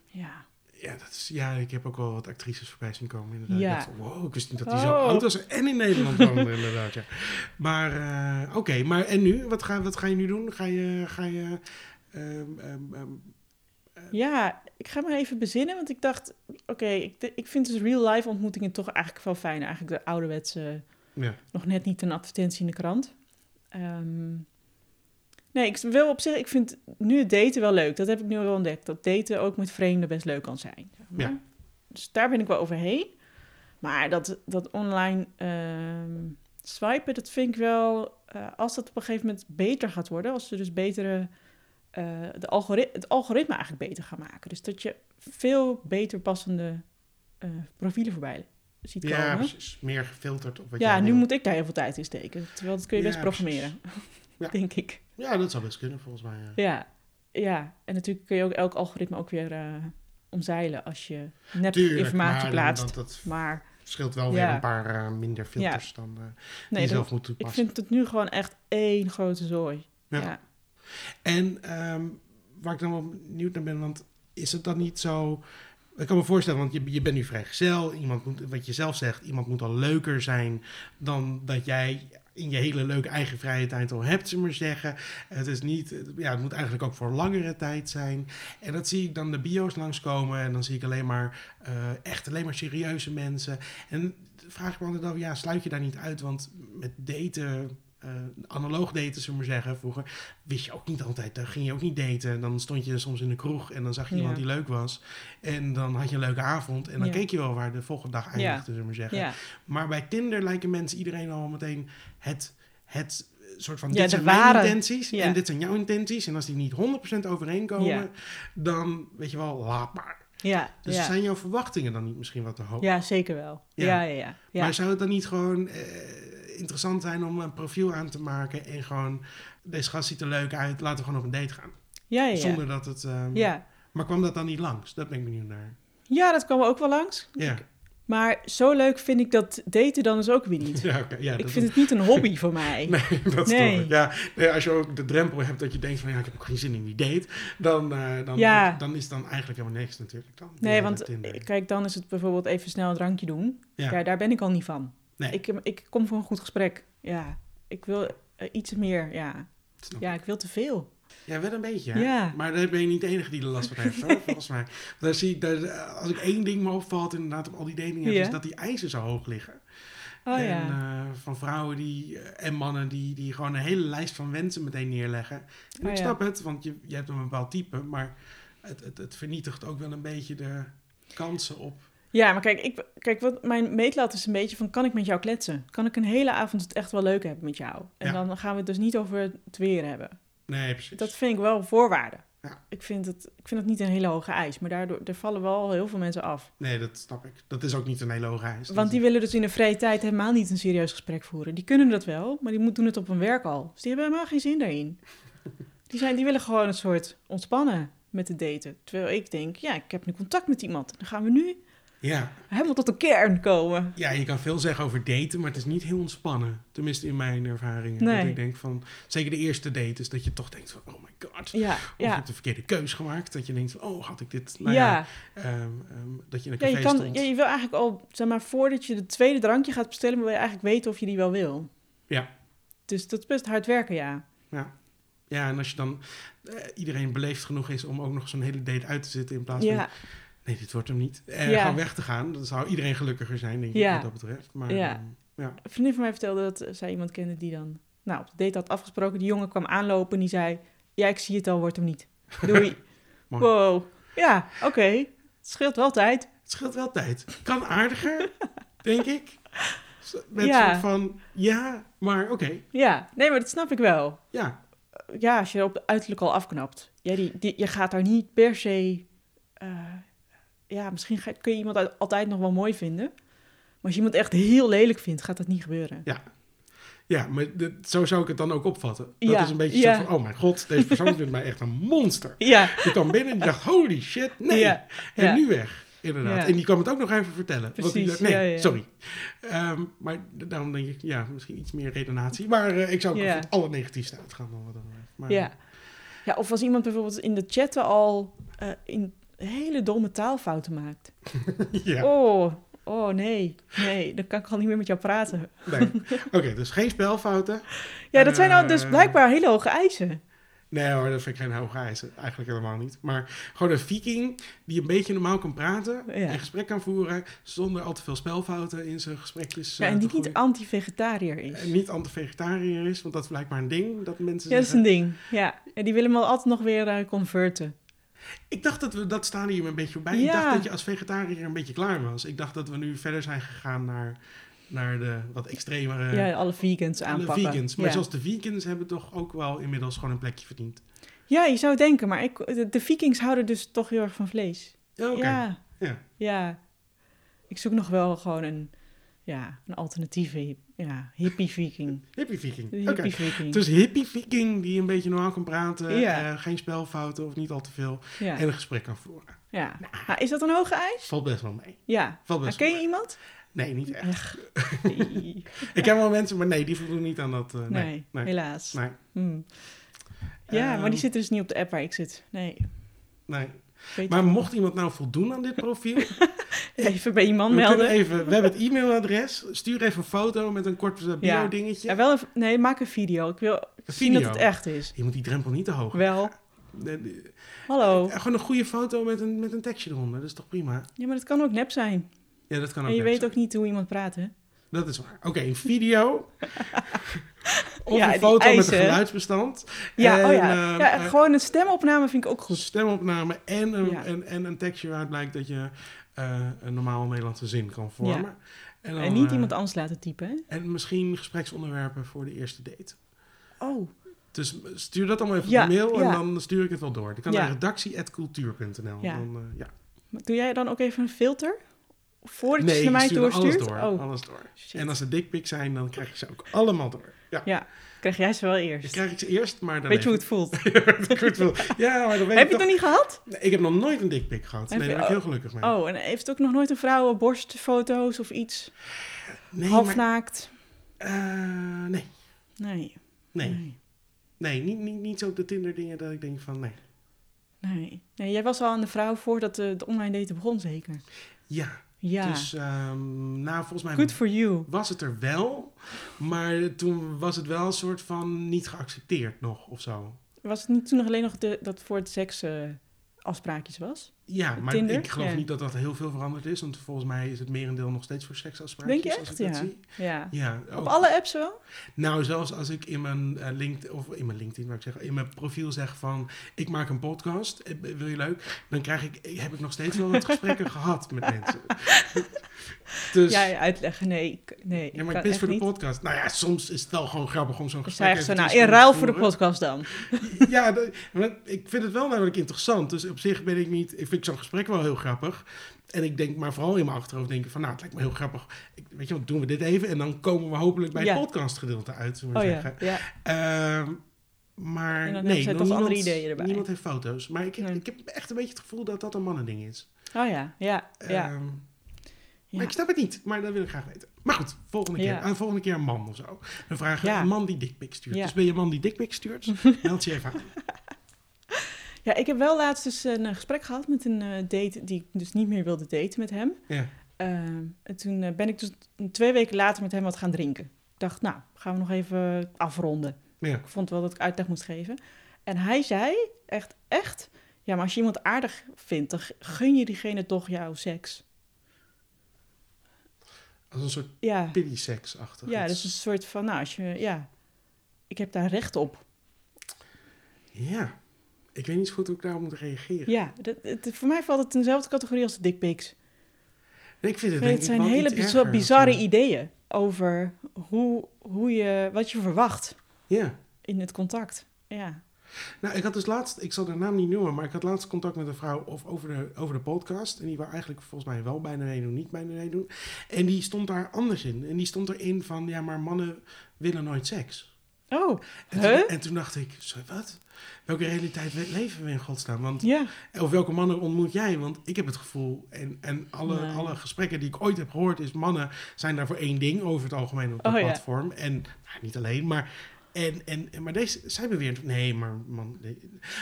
S2: Ja.
S1: ja, dat is, ja, ik heb ook wel wat actrices voorbij zien komen inderdaad.
S2: Ja.
S1: Ik dacht, wow, ik wist niet dat die zo
S2: Oh.
S1: oud was en in Nederland woonde inderdaad. Ja. Maar eh, oké, maar en nu? Wat ga, wat ga je nu doen? Ga je... Ga je ehm, ehm, ehm,
S2: ja, ik ga maar even bezinnen, want ik dacht, oké, ik, ik vind dus real-life ontmoetingen toch eigenlijk wel fijn. Eigenlijk de ouderwetse,
S1: ja.
S2: nog net niet een advertentie in de krant. Ehm, nee, ik wil op zich, ik vind nu het daten wel leuk. Dat heb ik nu wel ontdekt. Dat daten ook met vreemden best leuk kan zijn. zeg maar.
S1: Ja.
S2: Dus daar ben ik wel overheen. Maar dat, dat online ehm, swipen, dat vind ik wel... eh, als dat op een gegeven moment beter gaat worden... als ze dus betere, eh, de algori- het algoritme eigenlijk beter gaan maken. Dus dat je veel beter passende eh, profielen voorbij ziet komen.
S1: ja, precies. Meer gefilterd op wat
S2: Ja,
S1: jij
S2: nu
S1: wil.
S2: moet ik daar heel veel tijd in steken. Terwijl dat kun je
S1: Ja,
S2: best programmeren,
S1: Ja.
S2: denk ik.
S1: Ja, dat zou best kunnen volgens mij. ja.
S2: Ja. ja, en natuurlijk kun je ook elk algoritme ook weer eh, omzeilen als je nep
S1: Tuurlijk,
S2: informatie
S1: maar
S2: plaatst.
S1: Dat, dat
S2: Maar
S1: scheelt wel weer
S2: Ja.
S1: een paar eh, minder filters dan eh, die
S2: nee,
S1: je
S2: dat-
S1: zelf moet
S2: ik
S1: toepassen.
S2: vind het nu gewoon echt één grote zooi.
S1: Ja.
S2: Ja.
S1: En ehm, waar ik dan wel benieuwd naar ben, want is het dan niet zo... Ik kan me voorstellen, want je, je bent nu vrijgezel. Iemand moet, wat je zelf zegt, iemand moet al leuker zijn dan dat jij in je hele leuke eigen vrije tijd al hebt, zullen we maar zeggen. Het is niet, het- ja, het moet eigenlijk ook voor langere tijd zijn. En dat zie ik dan de bio's langskomen en dan zie ik alleen maar, eh, echt alleen maar serieuze mensen. En dan vraag ik me altijd af, ja, sluit je daar niet uit? Want met daten, eh, analoog daten, zullen we maar zeggen, vroeger wist je ook niet altijd. Dan ging je ook niet daten. Dan stond je soms in de kroeg en dan zag je
S2: Ja.
S1: iemand die leuk was. En dan had je een leuke avond. En dan
S2: Ja.
S1: keek je wel waar de volgende dag eindigde, zullen we maar zeggen.
S2: Ja.
S1: Maar bij Tinder lijken mensen iedereen al meteen het, het eh, soort van...
S2: Ja,
S1: dit
S2: de
S1: zijn
S2: ware.
S1: mijn intenties
S2: Ja.
S1: en dit zijn jouw intenties. En als die niet 100% overeenkomen,
S2: Ja.
S1: dan weet je wel, laat maar.
S2: Ja,
S1: Dus
S2: ja.
S1: zijn jouw verwachtingen dan niet misschien wat te hoog?
S2: ja, zeker wel.
S1: Ja.
S2: Ja, ja, ja. ja.
S1: Maar zou het dan niet gewoon eh, interessant zijn om een profiel aan te maken... en gewoon, deze gast ziet er leuk uit, laten we gewoon op een date gaan?
S2: ja, ja, ja.
S1: Zonder dat het... ehm,
S2: Ja.
S1: Maar kwam dat dan niet langs? Dat ben ik benieuwd naar.
S2: ja, dat kwam ook wel langs.
S1: Ja,
S2: Maar zo leuk vind ik dat daten dan dus ook weer niet.
S1: ja oké. ja,
S2: ik
S1: dat
S2: vind het niet een hobby voor mij.
S1: Nee, dat
S2: Nee.
S1: snap ik. Ja, nee, als je ook de drempel hebt dat je denkt van... ja, ik heb ook geen zin in die date. Dan, eh, dan,
S2: Ja.
S1: dan is het dan eigenlijk helemaal niks natuurlijk. Dan,
S2: Nee,
S1: Ja,
S2: want
S1: met Tinder.
S2: eh, kijk, dan is het bijvoorbeeld even snel een drankje doen.
S1: Ja.
S2: Ja. daar ben ik al niet van.
S1: Nee.
S2: Ik, eh, ik kom voor een goed gesprek. Ja, ik wil eh, iets meer. Ja.
S1: Snap
S2: ja, ik wil te veel.
S1: Ja, wel een beetje. hè?
S2: Ja.
S1: Maar daar ben je niet de enige die er last van heeft, hoor, volgens mij. Want Daar zie ik, daar, eh, als ik één ding me opvalt inderdaad op al die datingen...
S2: Ja.
S1: is dat die eisen zo hoog liggen.
S2: Oh
S1: en,
S2: ja.
S1: eh, van vrouwen die, eh, en mannen die, die gewoon een hele lijst van wensen meteen neerleggen. En
S2: Oh
S1: ik
S2: ja.
S1: snap het, want je, je hebt een bepaald type, maar het, het, het vernietigt ook wel een beetje de, kansen op.
S2: Ja, maar kijk, ik, kijk wat mijn meetlat is een beetje van... kan ik met jou kletsen? Kan ik een hele avond het echt wel leuk hebben met jou? En
S1: Ja.
S2: dan gaan we het dus niet over het weer hebben.
S1: Nee, precies.
S2: Dat vind ik wel een voorwaarde.
S1: Ja.
S2: Ik, vind het, ik vind het niet een hele hoge eis, maar daardoor er vallen wel heel veel mensen af.
S1: Nee, dat snap ik. Dat is ook niet een hele hoge eis.
S2: Want die willen dus in de vrije tijd helemaal niet een serieus gesprek voeren. Die kunnen dat wel, maar die moet- doen het op hun werk al. Dus die hebben helemaal geen zin daarin. Die, zijn, die willen gewoon een soort ontspannen met het daten. Terwijl ik denk, ja, ik heb nu contact met iemand. Dan gaan we nu
S1: Ja.
S2: helemaal tot de kern komen.
S1: ja, je kan veel zeggen over daten, maar het is niet heel ontspannen. Tenminste, in mijn ervaringen. Dat
S2: Nee.
S1: ik denk van, zeker de eerste date is dat je toch denkt van, oh my god.
S2: Ja,
S1: Of je
S2: ja.
S1: hebt de verkeerde keus gemaakt. Dat je denkt van, oh, had ik dit... Nou ja.
S2: Ja,
S1: ehm, ehm, dat je in een
S2: ja,
S1: café
S2: je, kan,
S1: stond.
S2: ja, je wil eigenlijk al, zeg maar, voordat je de tweede drankje gaat bestellen, wil je eigenlijk weten of je die wel wil.
S1: Ja.
S2: Dus dat is best hard werken, ja.
S1: Ja, en als je dan eh, iedereen beleefd genoeg is om ook nog zo'n hele date uit te zitten in plaats van
S2: Ja,
S1: nee, dit wordt hem niet. En
S2: Ja.
S1: gewoon weg te gaan. Dan zou iedereen gelukkiger zijn, denk ik,
S2: Ja.
S1: wat dat betreft. Maar
S2: Ja.
S1: ehm,
S2: Een vriendin van mij vertelde dat eh, zij iemand kende die dan... Nou, op de date had afgesproken. Die jongen kwam aanlopen en die zei... Ja, ik zie het al, wordt hem niet. Doei.
S1: Mooi.
S2: wow. Ja, oké. Het scheelt wel tijd.
S1: het scheelt wel tijd. Kan aardiger, denk ik. Zo- Met
S2: Ja.
S1: soort van, ja, maar oké.
S2: Ja, nee, maar dat snap ik wel.
S1: Ja,
S2: Ja, als je op de uiterlijk al afknapt. Ja, die, die, je gaat daar niet per se... eh, ja, misschien ga- kun je iemand al- altijd nog wel mooi vinden. Maar als je iemand echt heel lelijk vindt, gaat dat niet gebeuren.
S1: ja maar dit- zo zou ik het dan ook opvatten. Dat
S2: Ja,
S1: is een beetje
S2: ja.
S1: zo van, oh mijn god, deze persoon vindt mij echt een monster.
S2: Ja,
S1: Die kwam binnen en die dacht, holy shit, nee.
S2: Ja,
S1: En
S2: ja.
S1: nu weg, inderdaad.
S2: Ja.
S1: En die kwam het ook nog even vertellen. want die
S2: Precies,
S1: dacht, nee,
S2: ja, ja.
S1: sorry. Ehm, maar d- daarom denk ik, ja, misschien iets meer redenatie. Maar eh, ik zou ook
S2: Ja.
S1: van het allernegatiefste uitgaan. Dan wat dan, ook. maar,
S2: Ja. ja, of als iemand bijvoorbeeld in de chatten al eh, in hele domme taalfouten maakt.
S1: ja.
S2: Oh, oh nee, nee, dan kan ik al niet meer met jou praten.
S1: Nee. Oké, dus geen spelfouten.
S2: Ja, dat zijn al dus
S1: Eh.
S2: blijkbaar hele hoge eisen.
S1: Nee hoor, dat vind ik geen hoge eisen. Eigenlijk helemaal niet. Maar gewoon een viking die een beetje normaal kan praten
S2: Ja.
S1: en gesprek kan voeren zonder al te veel spelfouten in zijn gesprekjes.
S2: Ja,
S1: eh,
S2: en
S1: te
S2: die niet
S1: gooien.
S2: anti-vegetariër is.
S1: En niet eh, anti-vegetariër is, want dat is blijkbaar een ding dat mensen
S2: Ja, dat is
S1: zeggen.
S2: een ding. Ja, en die willen hem al altijd nog weer eh, converten.
S1: Ik dacht dat we dat stadium een beetje voorbij. Ik
S2: Ja.
S1: dacht dat je als vegetariër een beetje klaar was. Ik dacht dat we nu verder zijn gegaan naar, naar de wat extremere
S2: ja, alle vegans
S1: Eh. alle
S2: aanpakken.
S1: vegans. Maar
S2: ja.
S1: zelfs de vegans hebben toch ook wel inmiddels gewoon een plekje verdiend.
S2: ja, je zou denken, maar ik, de, de vikings houden dus toch heel erg van vlees.
S1: Ja, Oké.
S2: Ja.
S1: Ja.
S2: Ja. Ik zoek nog wel gewoon een, ja, een alternatieve hip- ja, hippie viking.
S1: Hippie viking.
S2: Een
S1: Oké.
S2: hippie viking.
S1: Dus hippie viking die een beetje normaal kan praten,
S2: Ja.
S1: eh, geen spelfouten of niet al te veel.
S2: ja.
S1: En een gesprek kan voeren.
S2: ja. Nou, is dat een hoge eis?
S1: Valt best wel mee.
S2: Ja.
S1: Valt
S2: Nou,
S1: best
S2: ken
S1: wel
S2: je iemand?
S1: mee. Nee, niet echt.
S2: Nee,
S1: Ik ken wel mensen, maar nee, die voldoen niet aan dat. eh, nee. nee. nee.
S2: helaas.
S1: Nee.
S2: Hm. Ja, maar
S1: Ehm.
S2: die zitten dus niet op de app waar ik zit. Nee. Weet
S1: Maar mocht iemand nou voldoen aan dit profiel,
S2: Even bij iemand
S1: we, kunnen
S2: melden.
S1: even, we hebben het e-mailadres. Stuur even een foto met een kort eh,
S2: Ja.
S1: bio-dingetje.
S2: Ja, wel even- nee, maak een video. Ik wil zien dat
S1: video.
S2: het echt is.
S1: Je moet die drempel niet te hoog.
S2: Wel.
S1: Nee, nee.
S2: Hallo.
S1: Gewoon een goede foto met een, met een tekstje eronder. Dat is toch prima?
S2: Ja, maar dat kan ook nep zijn.
S1: Ja, dat kan ook.
S2: En je
S1: leuk
S2: weet
S1: zijn.
S2: ook niet hoe iemand praat, hè?
S1: Dat is waar. Oké, een video. of
S2: Ja,
S1: een
S2: die
S1: foto met een
S2: eisen.
S1: geluidsbestand.
S2: Ja,
S1: En,
S2: oh ja.
S1: eh,
S2: ja
S1: eh,
S2: gewoon een stemopname vind ik ook goed.
S1: Stemopname en een,
S2: Ja.
S1: en, en een tekstje waaruit blijkt dat je eh, een normaal Nederlandse zin kan vormen.
S2: Ja.
S1: En,
S2: En,
S1: dan,
S2: niet
S1: eh,
S2: iemand anders laten typen, hè?
S1: En misschien gespreksonderwerpen voor de eerste date.
S2: Oh,
S1: Dus stuur dat allemaal even
S2: Ja,
S1: op de mail en
S2: ja.
S1: dan stuur ik het wel door. Dan kan
S2: Ja.
S1: naar redactie.cultuur.nl.
S2: Ja.
S1: Dan, eh, ja.
S2: maar doe jij dan ook even een filter? Voordat je
S1: Nee,
S2: ze naar
S1: je
S2: mij
S1: stuurt alles
S2: doorstuurt?
S1: door.
S2: Oh,
S1: Alles door.
S2: shit.
S1: En als ze dikpik zijn, dan krijg je ze ook allemaal door. Ja.
S2: Ja, krijg jij ze wel eerst.
S1: Dan krijg ik ze eerst, maar dan
S2: Weet je hoe het voelt?
S1: het Ja, maar dan weet ik
S2: Heb je het
S1: toch...
S2: nog niet gehad?
S1: Nee, Ik heb nog nooit een dikpik gehad.
S2: Heb
S1: Nee,
S2: je-
S1: daar ben ik heel gelukkig mee.
S2: Oh, en heeft ook nog nooit een vrouw borstfoto's of iets?
S1: nee, maar-
S2: Halfnaakt?
S1: eh, nee,
S2: Nee.
S1: nee.
S2: Nee.
S1: Nee, niet, niet, niet zo op de Tinder dingen dat ik denk van nee.
S2: nee. Nee, jij was al aan de vrouw voordat de, de online daten begon, zeker?
S1: Ja,
S2: Ja.
S1: dus ehm, nou volgens mij
S2: Good for you.
S1: was het er wel, maar toen was het wel een soort van niet geaccepteerd nog of zo.
S2: Was het niet toen nog alleen nog de, dat voor het seks eh, afspraakjes was?
S1: Ja, maar
S2: Tinder,
S1: ik geloof
S2: ja.
S1: niet dat dat heel veel veranderd is. Want volgens mij is het merendeel nog steeds voor seksafspraken.
S2: Denk je
S1: Als ik
S2: echt?
S1: dat
S2: Ja.
S1: zie.
S2: ja.
S1: Ja, ook.
S2: Op alle apps wel?
S1: Nou, zelfs als ik in mijn eh, LinkedIn, of in mijn LinkedIn, wou ik zeggen, in mijn profiel zeg van, ik maak een podcast, eh, wil je leuk? Dan krijg ik, eh, heb ik nog steeds wel wat gesprekken gehad met mensen. dus,
S2: Ja,
S1: ja,
S2: ja, uitleggen. Nee, ik, nee, ik
S1: maar
S2: kan
S1: ik mis
S2: echt
S1: voor de
S2: niet.
S1: podcast. Nou ja, soms is het wel gewoon grappig om zo'n
S2: Ik
S1: gesprek
S2: zei echt zo,
S1: even
S2: nou,
S1: tien
S2: in
S1: seconden
S2: ruil
S1: te
S2: voor de
S1: voeren.
S2: podcast dan.
S1: Ja, de- want ik vind het wel namelijk interessant. Dus op zich ben ik niet, ik vind zo'n gesprek wel heel grappig. En ik denk maar vooral in mijn achterhoofd denken van, nou, het lijkt me heel grappig. Ik, weet je wat, doen we dit even en dan komen we hopelijk bij
S2: Ja.
S1: het podcastgedeelte uit, zullen we
S2: Oh
S1: zeggen.
S2: ja, ja.
S1: Ehm, maar
S2: En dan hebben
S1: nee,
S2: zij
S1: nog
S2: toch
S1: niemand-
S2: andere ideeën erbij.
S1: Niemand heeft foto's. Maar ik,
S2: Nee.
S1: ik heb echt een beetje het gevoel dat dat een mannending is.
S2: Oh ja, ja, ja.
S1: Ehm,
S2: ja.
S1: Maar ik snap het niet. Maar dat wil ik graag weten. Maar goed, volgende keer.
S2: Ja.
S1: Aan de volgende keer een man of zo. Dan vragen we
S2: Ja.
S1: een man die dikpik stuurt.
S2: Ja.
S1: Dus ben je een man die dikpik stuurt? Meld je even aan.
S2: Ja, ik heb wel laatst dus een eh, gesprek gehad met een eh, date die ik dus niet meer wilde daten met hem.
S1: Ja.
S2: Ehm, en toen eh, ben ik dus twee weken later met hem wat gaan drinken. Ik dacht, nou, gaan we nog even afronden.
S1: Ja.
S2: Ik vond wel dat ik uitleg moest geven. En hij zei echt, echt, ja, maar als je iemand aardig vindt, dan gun je diegene toch jouw seks.
S1: Als een soort
S2: Ja,
S1: pity sex achter
S2: ja dus een soort van, nou, als je, ja, ik heb daar recht op.
S1: ja. Ik weet niet zo goed hoe ik daarop moet reageren.
S2: Ja, dat, het- voor mij valt het in dezelfde categorie als de dickpics.
S1: Nee, ik vind het
S2: Nee,
S1: denk
S2: het
S1: ik
S2: zijn
S1: wel
S2: hele
S1: iets
S2: bizar-
S1: erger.
S2: bizarre ideeën over hoe, hoe je, wat je verwacht
S1: Ja.
S2: in het contact. Ja.
S1: Nou, ik had dus laatst, ik zal de naam niet noemen, maar ik had laatst contact met een vrouw of over, de, over de podcast. En die wou eigenlijk volgens mij wel bijna meedoen, niet bijna meedoen. En die stond daar anders in. En die stond erin van, ja, maar mannen willen nooit seks.
S2: Oh,
S1: En,
S2: Huh?
S1: toen, en toen dacht ik, zo, wat? Welke realiteit we- leven we in godsnaam? Want,
S2: ja.
S1: of welke mannen ontmoet jij? Want ik heb het gevoel, en, en alle,
S2: Nee.
S1: alle gesprekken die ik ooit heb gehoord, is mannen zijn daar voor één ding over het algemeen op het
S2: Oh, ja.
S1: platform. En nou, niet alleen, maar. En, en, en- maar deze, zij beweert, nee, maar man. nee.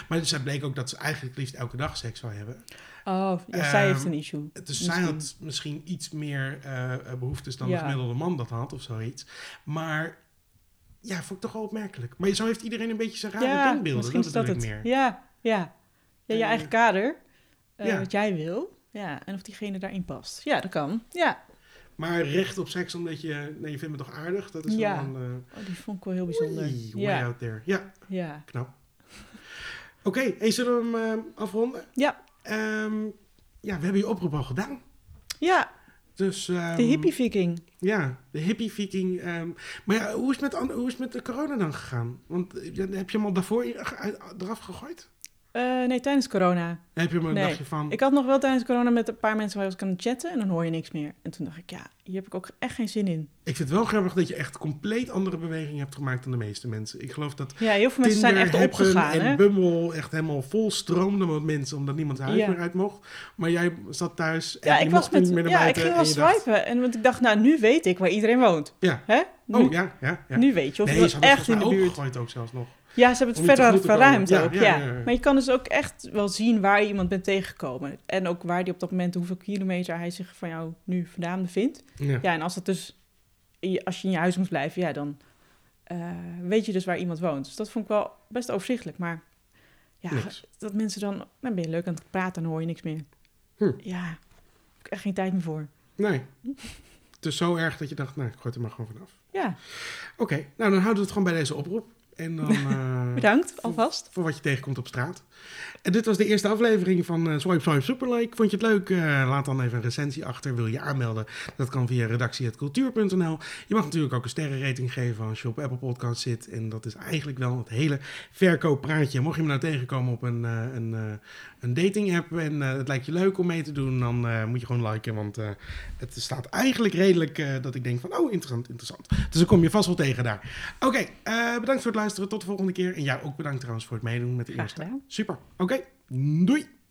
S1: Maar zij bleek ook dat ze eigenlijk liefst elke dag seks zou hebben.
S2: Oh, ja,
S1: Ehm,
S2: zij heeft een issue.
S1: Dus zij
S2: Misschien.
S1: had misschien iets meer eh, behoeftes dan
S2: Ja.
S1: de gemiddelde man dat had of zoiets. Maar ja, vond ik toch wel opmerkelijk. Maar zo heeft iedereen een beetje zijn rare
S2: ja,
S1: denkbeelden.
S2: misschien is dat het.
S1: bedoel ik meer.
S2: Ja, ja. ja je
S1: Eh,
S2: eigen kader, eh,
S1: ja.
S2: wat jij wil. Ja, en of diegene daarin past. Ja, dat kan. Ja,
S1: Maar recht op seks omdat je, nee, je vindt me toch aardig? Dat is
S2: Ja.
S1: wel een... eh,
S2: oh, die vond ik wel heel bijzonder.
S1: Oei, way
S2: ja,
S1: out there. Ja,
S2: ja.
S1: knap. Oké, hey, zullen we hem eh, afronden?
S2: Ja.
S1: Ehm, ja, we hebben je oproep al gedaan.
S2: ja,
S1: Dus, ehm,
S2: de hippie-viking.
S1: Ja, de hippie viking. ehm. maar ja, hoe is, het met, an- hoe is het met de corona dan gegaan? Want eh, ja, heb je hem al daarvoor i- ge- uit- eraf gegooid?
S2: Eh, nee, tijdens corona.
S1: Heb je hem een
S2: Nee,
S1: dagje van...
S2: Ik had nog wel tijdens corona met een paar mensen waar ik was aan het chatten en dan hoor je niks meer. En toen dacht ik, ja, hier heb ik ook echt geen zin in.
S1: Ik vind het wel grappig dat je echt compleet andere bewegingen hebt gemaakt dan de meeste mensen. Ik geloof dat
S2: Ja, heel veel mensen zijn
S1: Tinder,
S2: echt
S1: Happen
S2: opgegaan.
S1: en
S2: Hè?
S1: Bumble echt helemaal vol stroomde met mensen omdat niemand zijn huis
S2: Ja.
S1: meer uit mocht. Maar jij zat thuis en
S2: Ja,
S1: je
S2: ik was
S1: mocht
S2: met,
S1: niet meer naar
S2: ja, ik
S1: buiten
S2: ging
S1: en
S2: wel
S1: je dacht,
S2: swipen. En want ik dacht, nou, nu weet ik waar iedereen woont.
S1: Ja.
S2: Hè? Nu,
S1: Oh ja, ja, ja.
S2: nu weet je of
S1: nee,
S2: je was
S1: ze hadden
S2: echt
S1: echt
S2: in de buurt.
S1: gegooid ook zelfs nog.
S2: Ja, ze hebben
S1: Om
S2: het
S1: je tegemoet
S2: verder
S1: te komen.
S2: verruimd
S1: Ja,
S2: ook.
S1: ja,
S2: Ja,
S1: ja, ja.
S2: Maar je kan dus ook echt wel zien waar je iemand bent tegengekomen. En ook waar die op dat moment, hoeveel kilometer hij zich van jou nu vandaan bevindt.
S1: Ja.
S2: Ja, en als het dus je- als je in je huis moest blijven, ja, dan eh, weet je dus waar iemand woont. Dus dat vond ik wel best overzichtelijk. Maar ja,
S1: Niks.
S2: dat mensen dan, dan ben je leuk aan het praten, dan hoor je niks meer.
S1: Hm.
S2: Ja, daar heb ik echt geen tijd meer voor.
S1: Nee. Dus zo erg dat je dacht, nou, ik gooi het er maar gewoon vanaf.
S2: Ja,
S1: Oké, nou dan houden we het gewoon bij deze oproep. En dan eh,
S2: bedankt alvast.
S1: voor wat je tegenkomt op straat. En dit was de eerste aflevering van eh, Swipe Swipe Superlike. Vond je het leuk? Eh, laat dan even een recensie achter. Wil je aanmelden? Dat kan via redactie.cultuur.nl. Je mag natuurlijk ook een sterrenrating geven als je op Apple Podcast zit. En dat is eigenlijk wel het hele verkooppraatje. Mocht je me nou tegenkomen op een, eh, een, eh, een dating app en eh, het lijkt je leuk om mee te doen, dan eh, moet je gewoon liken. Want eh, het staat eigenlijk redelijk eh, dat ik denk van, oh interessant, interessant. Dus dan kom je vast wel tegen daar. Oké, eh, bedankt voor het luisteren. Tot de volgende keer. En jou ook bedankt trouwens voor het meedoen met de
S2: Graag
S1: eerste.
S2: gedaan.
S1: Super. Oké, doei.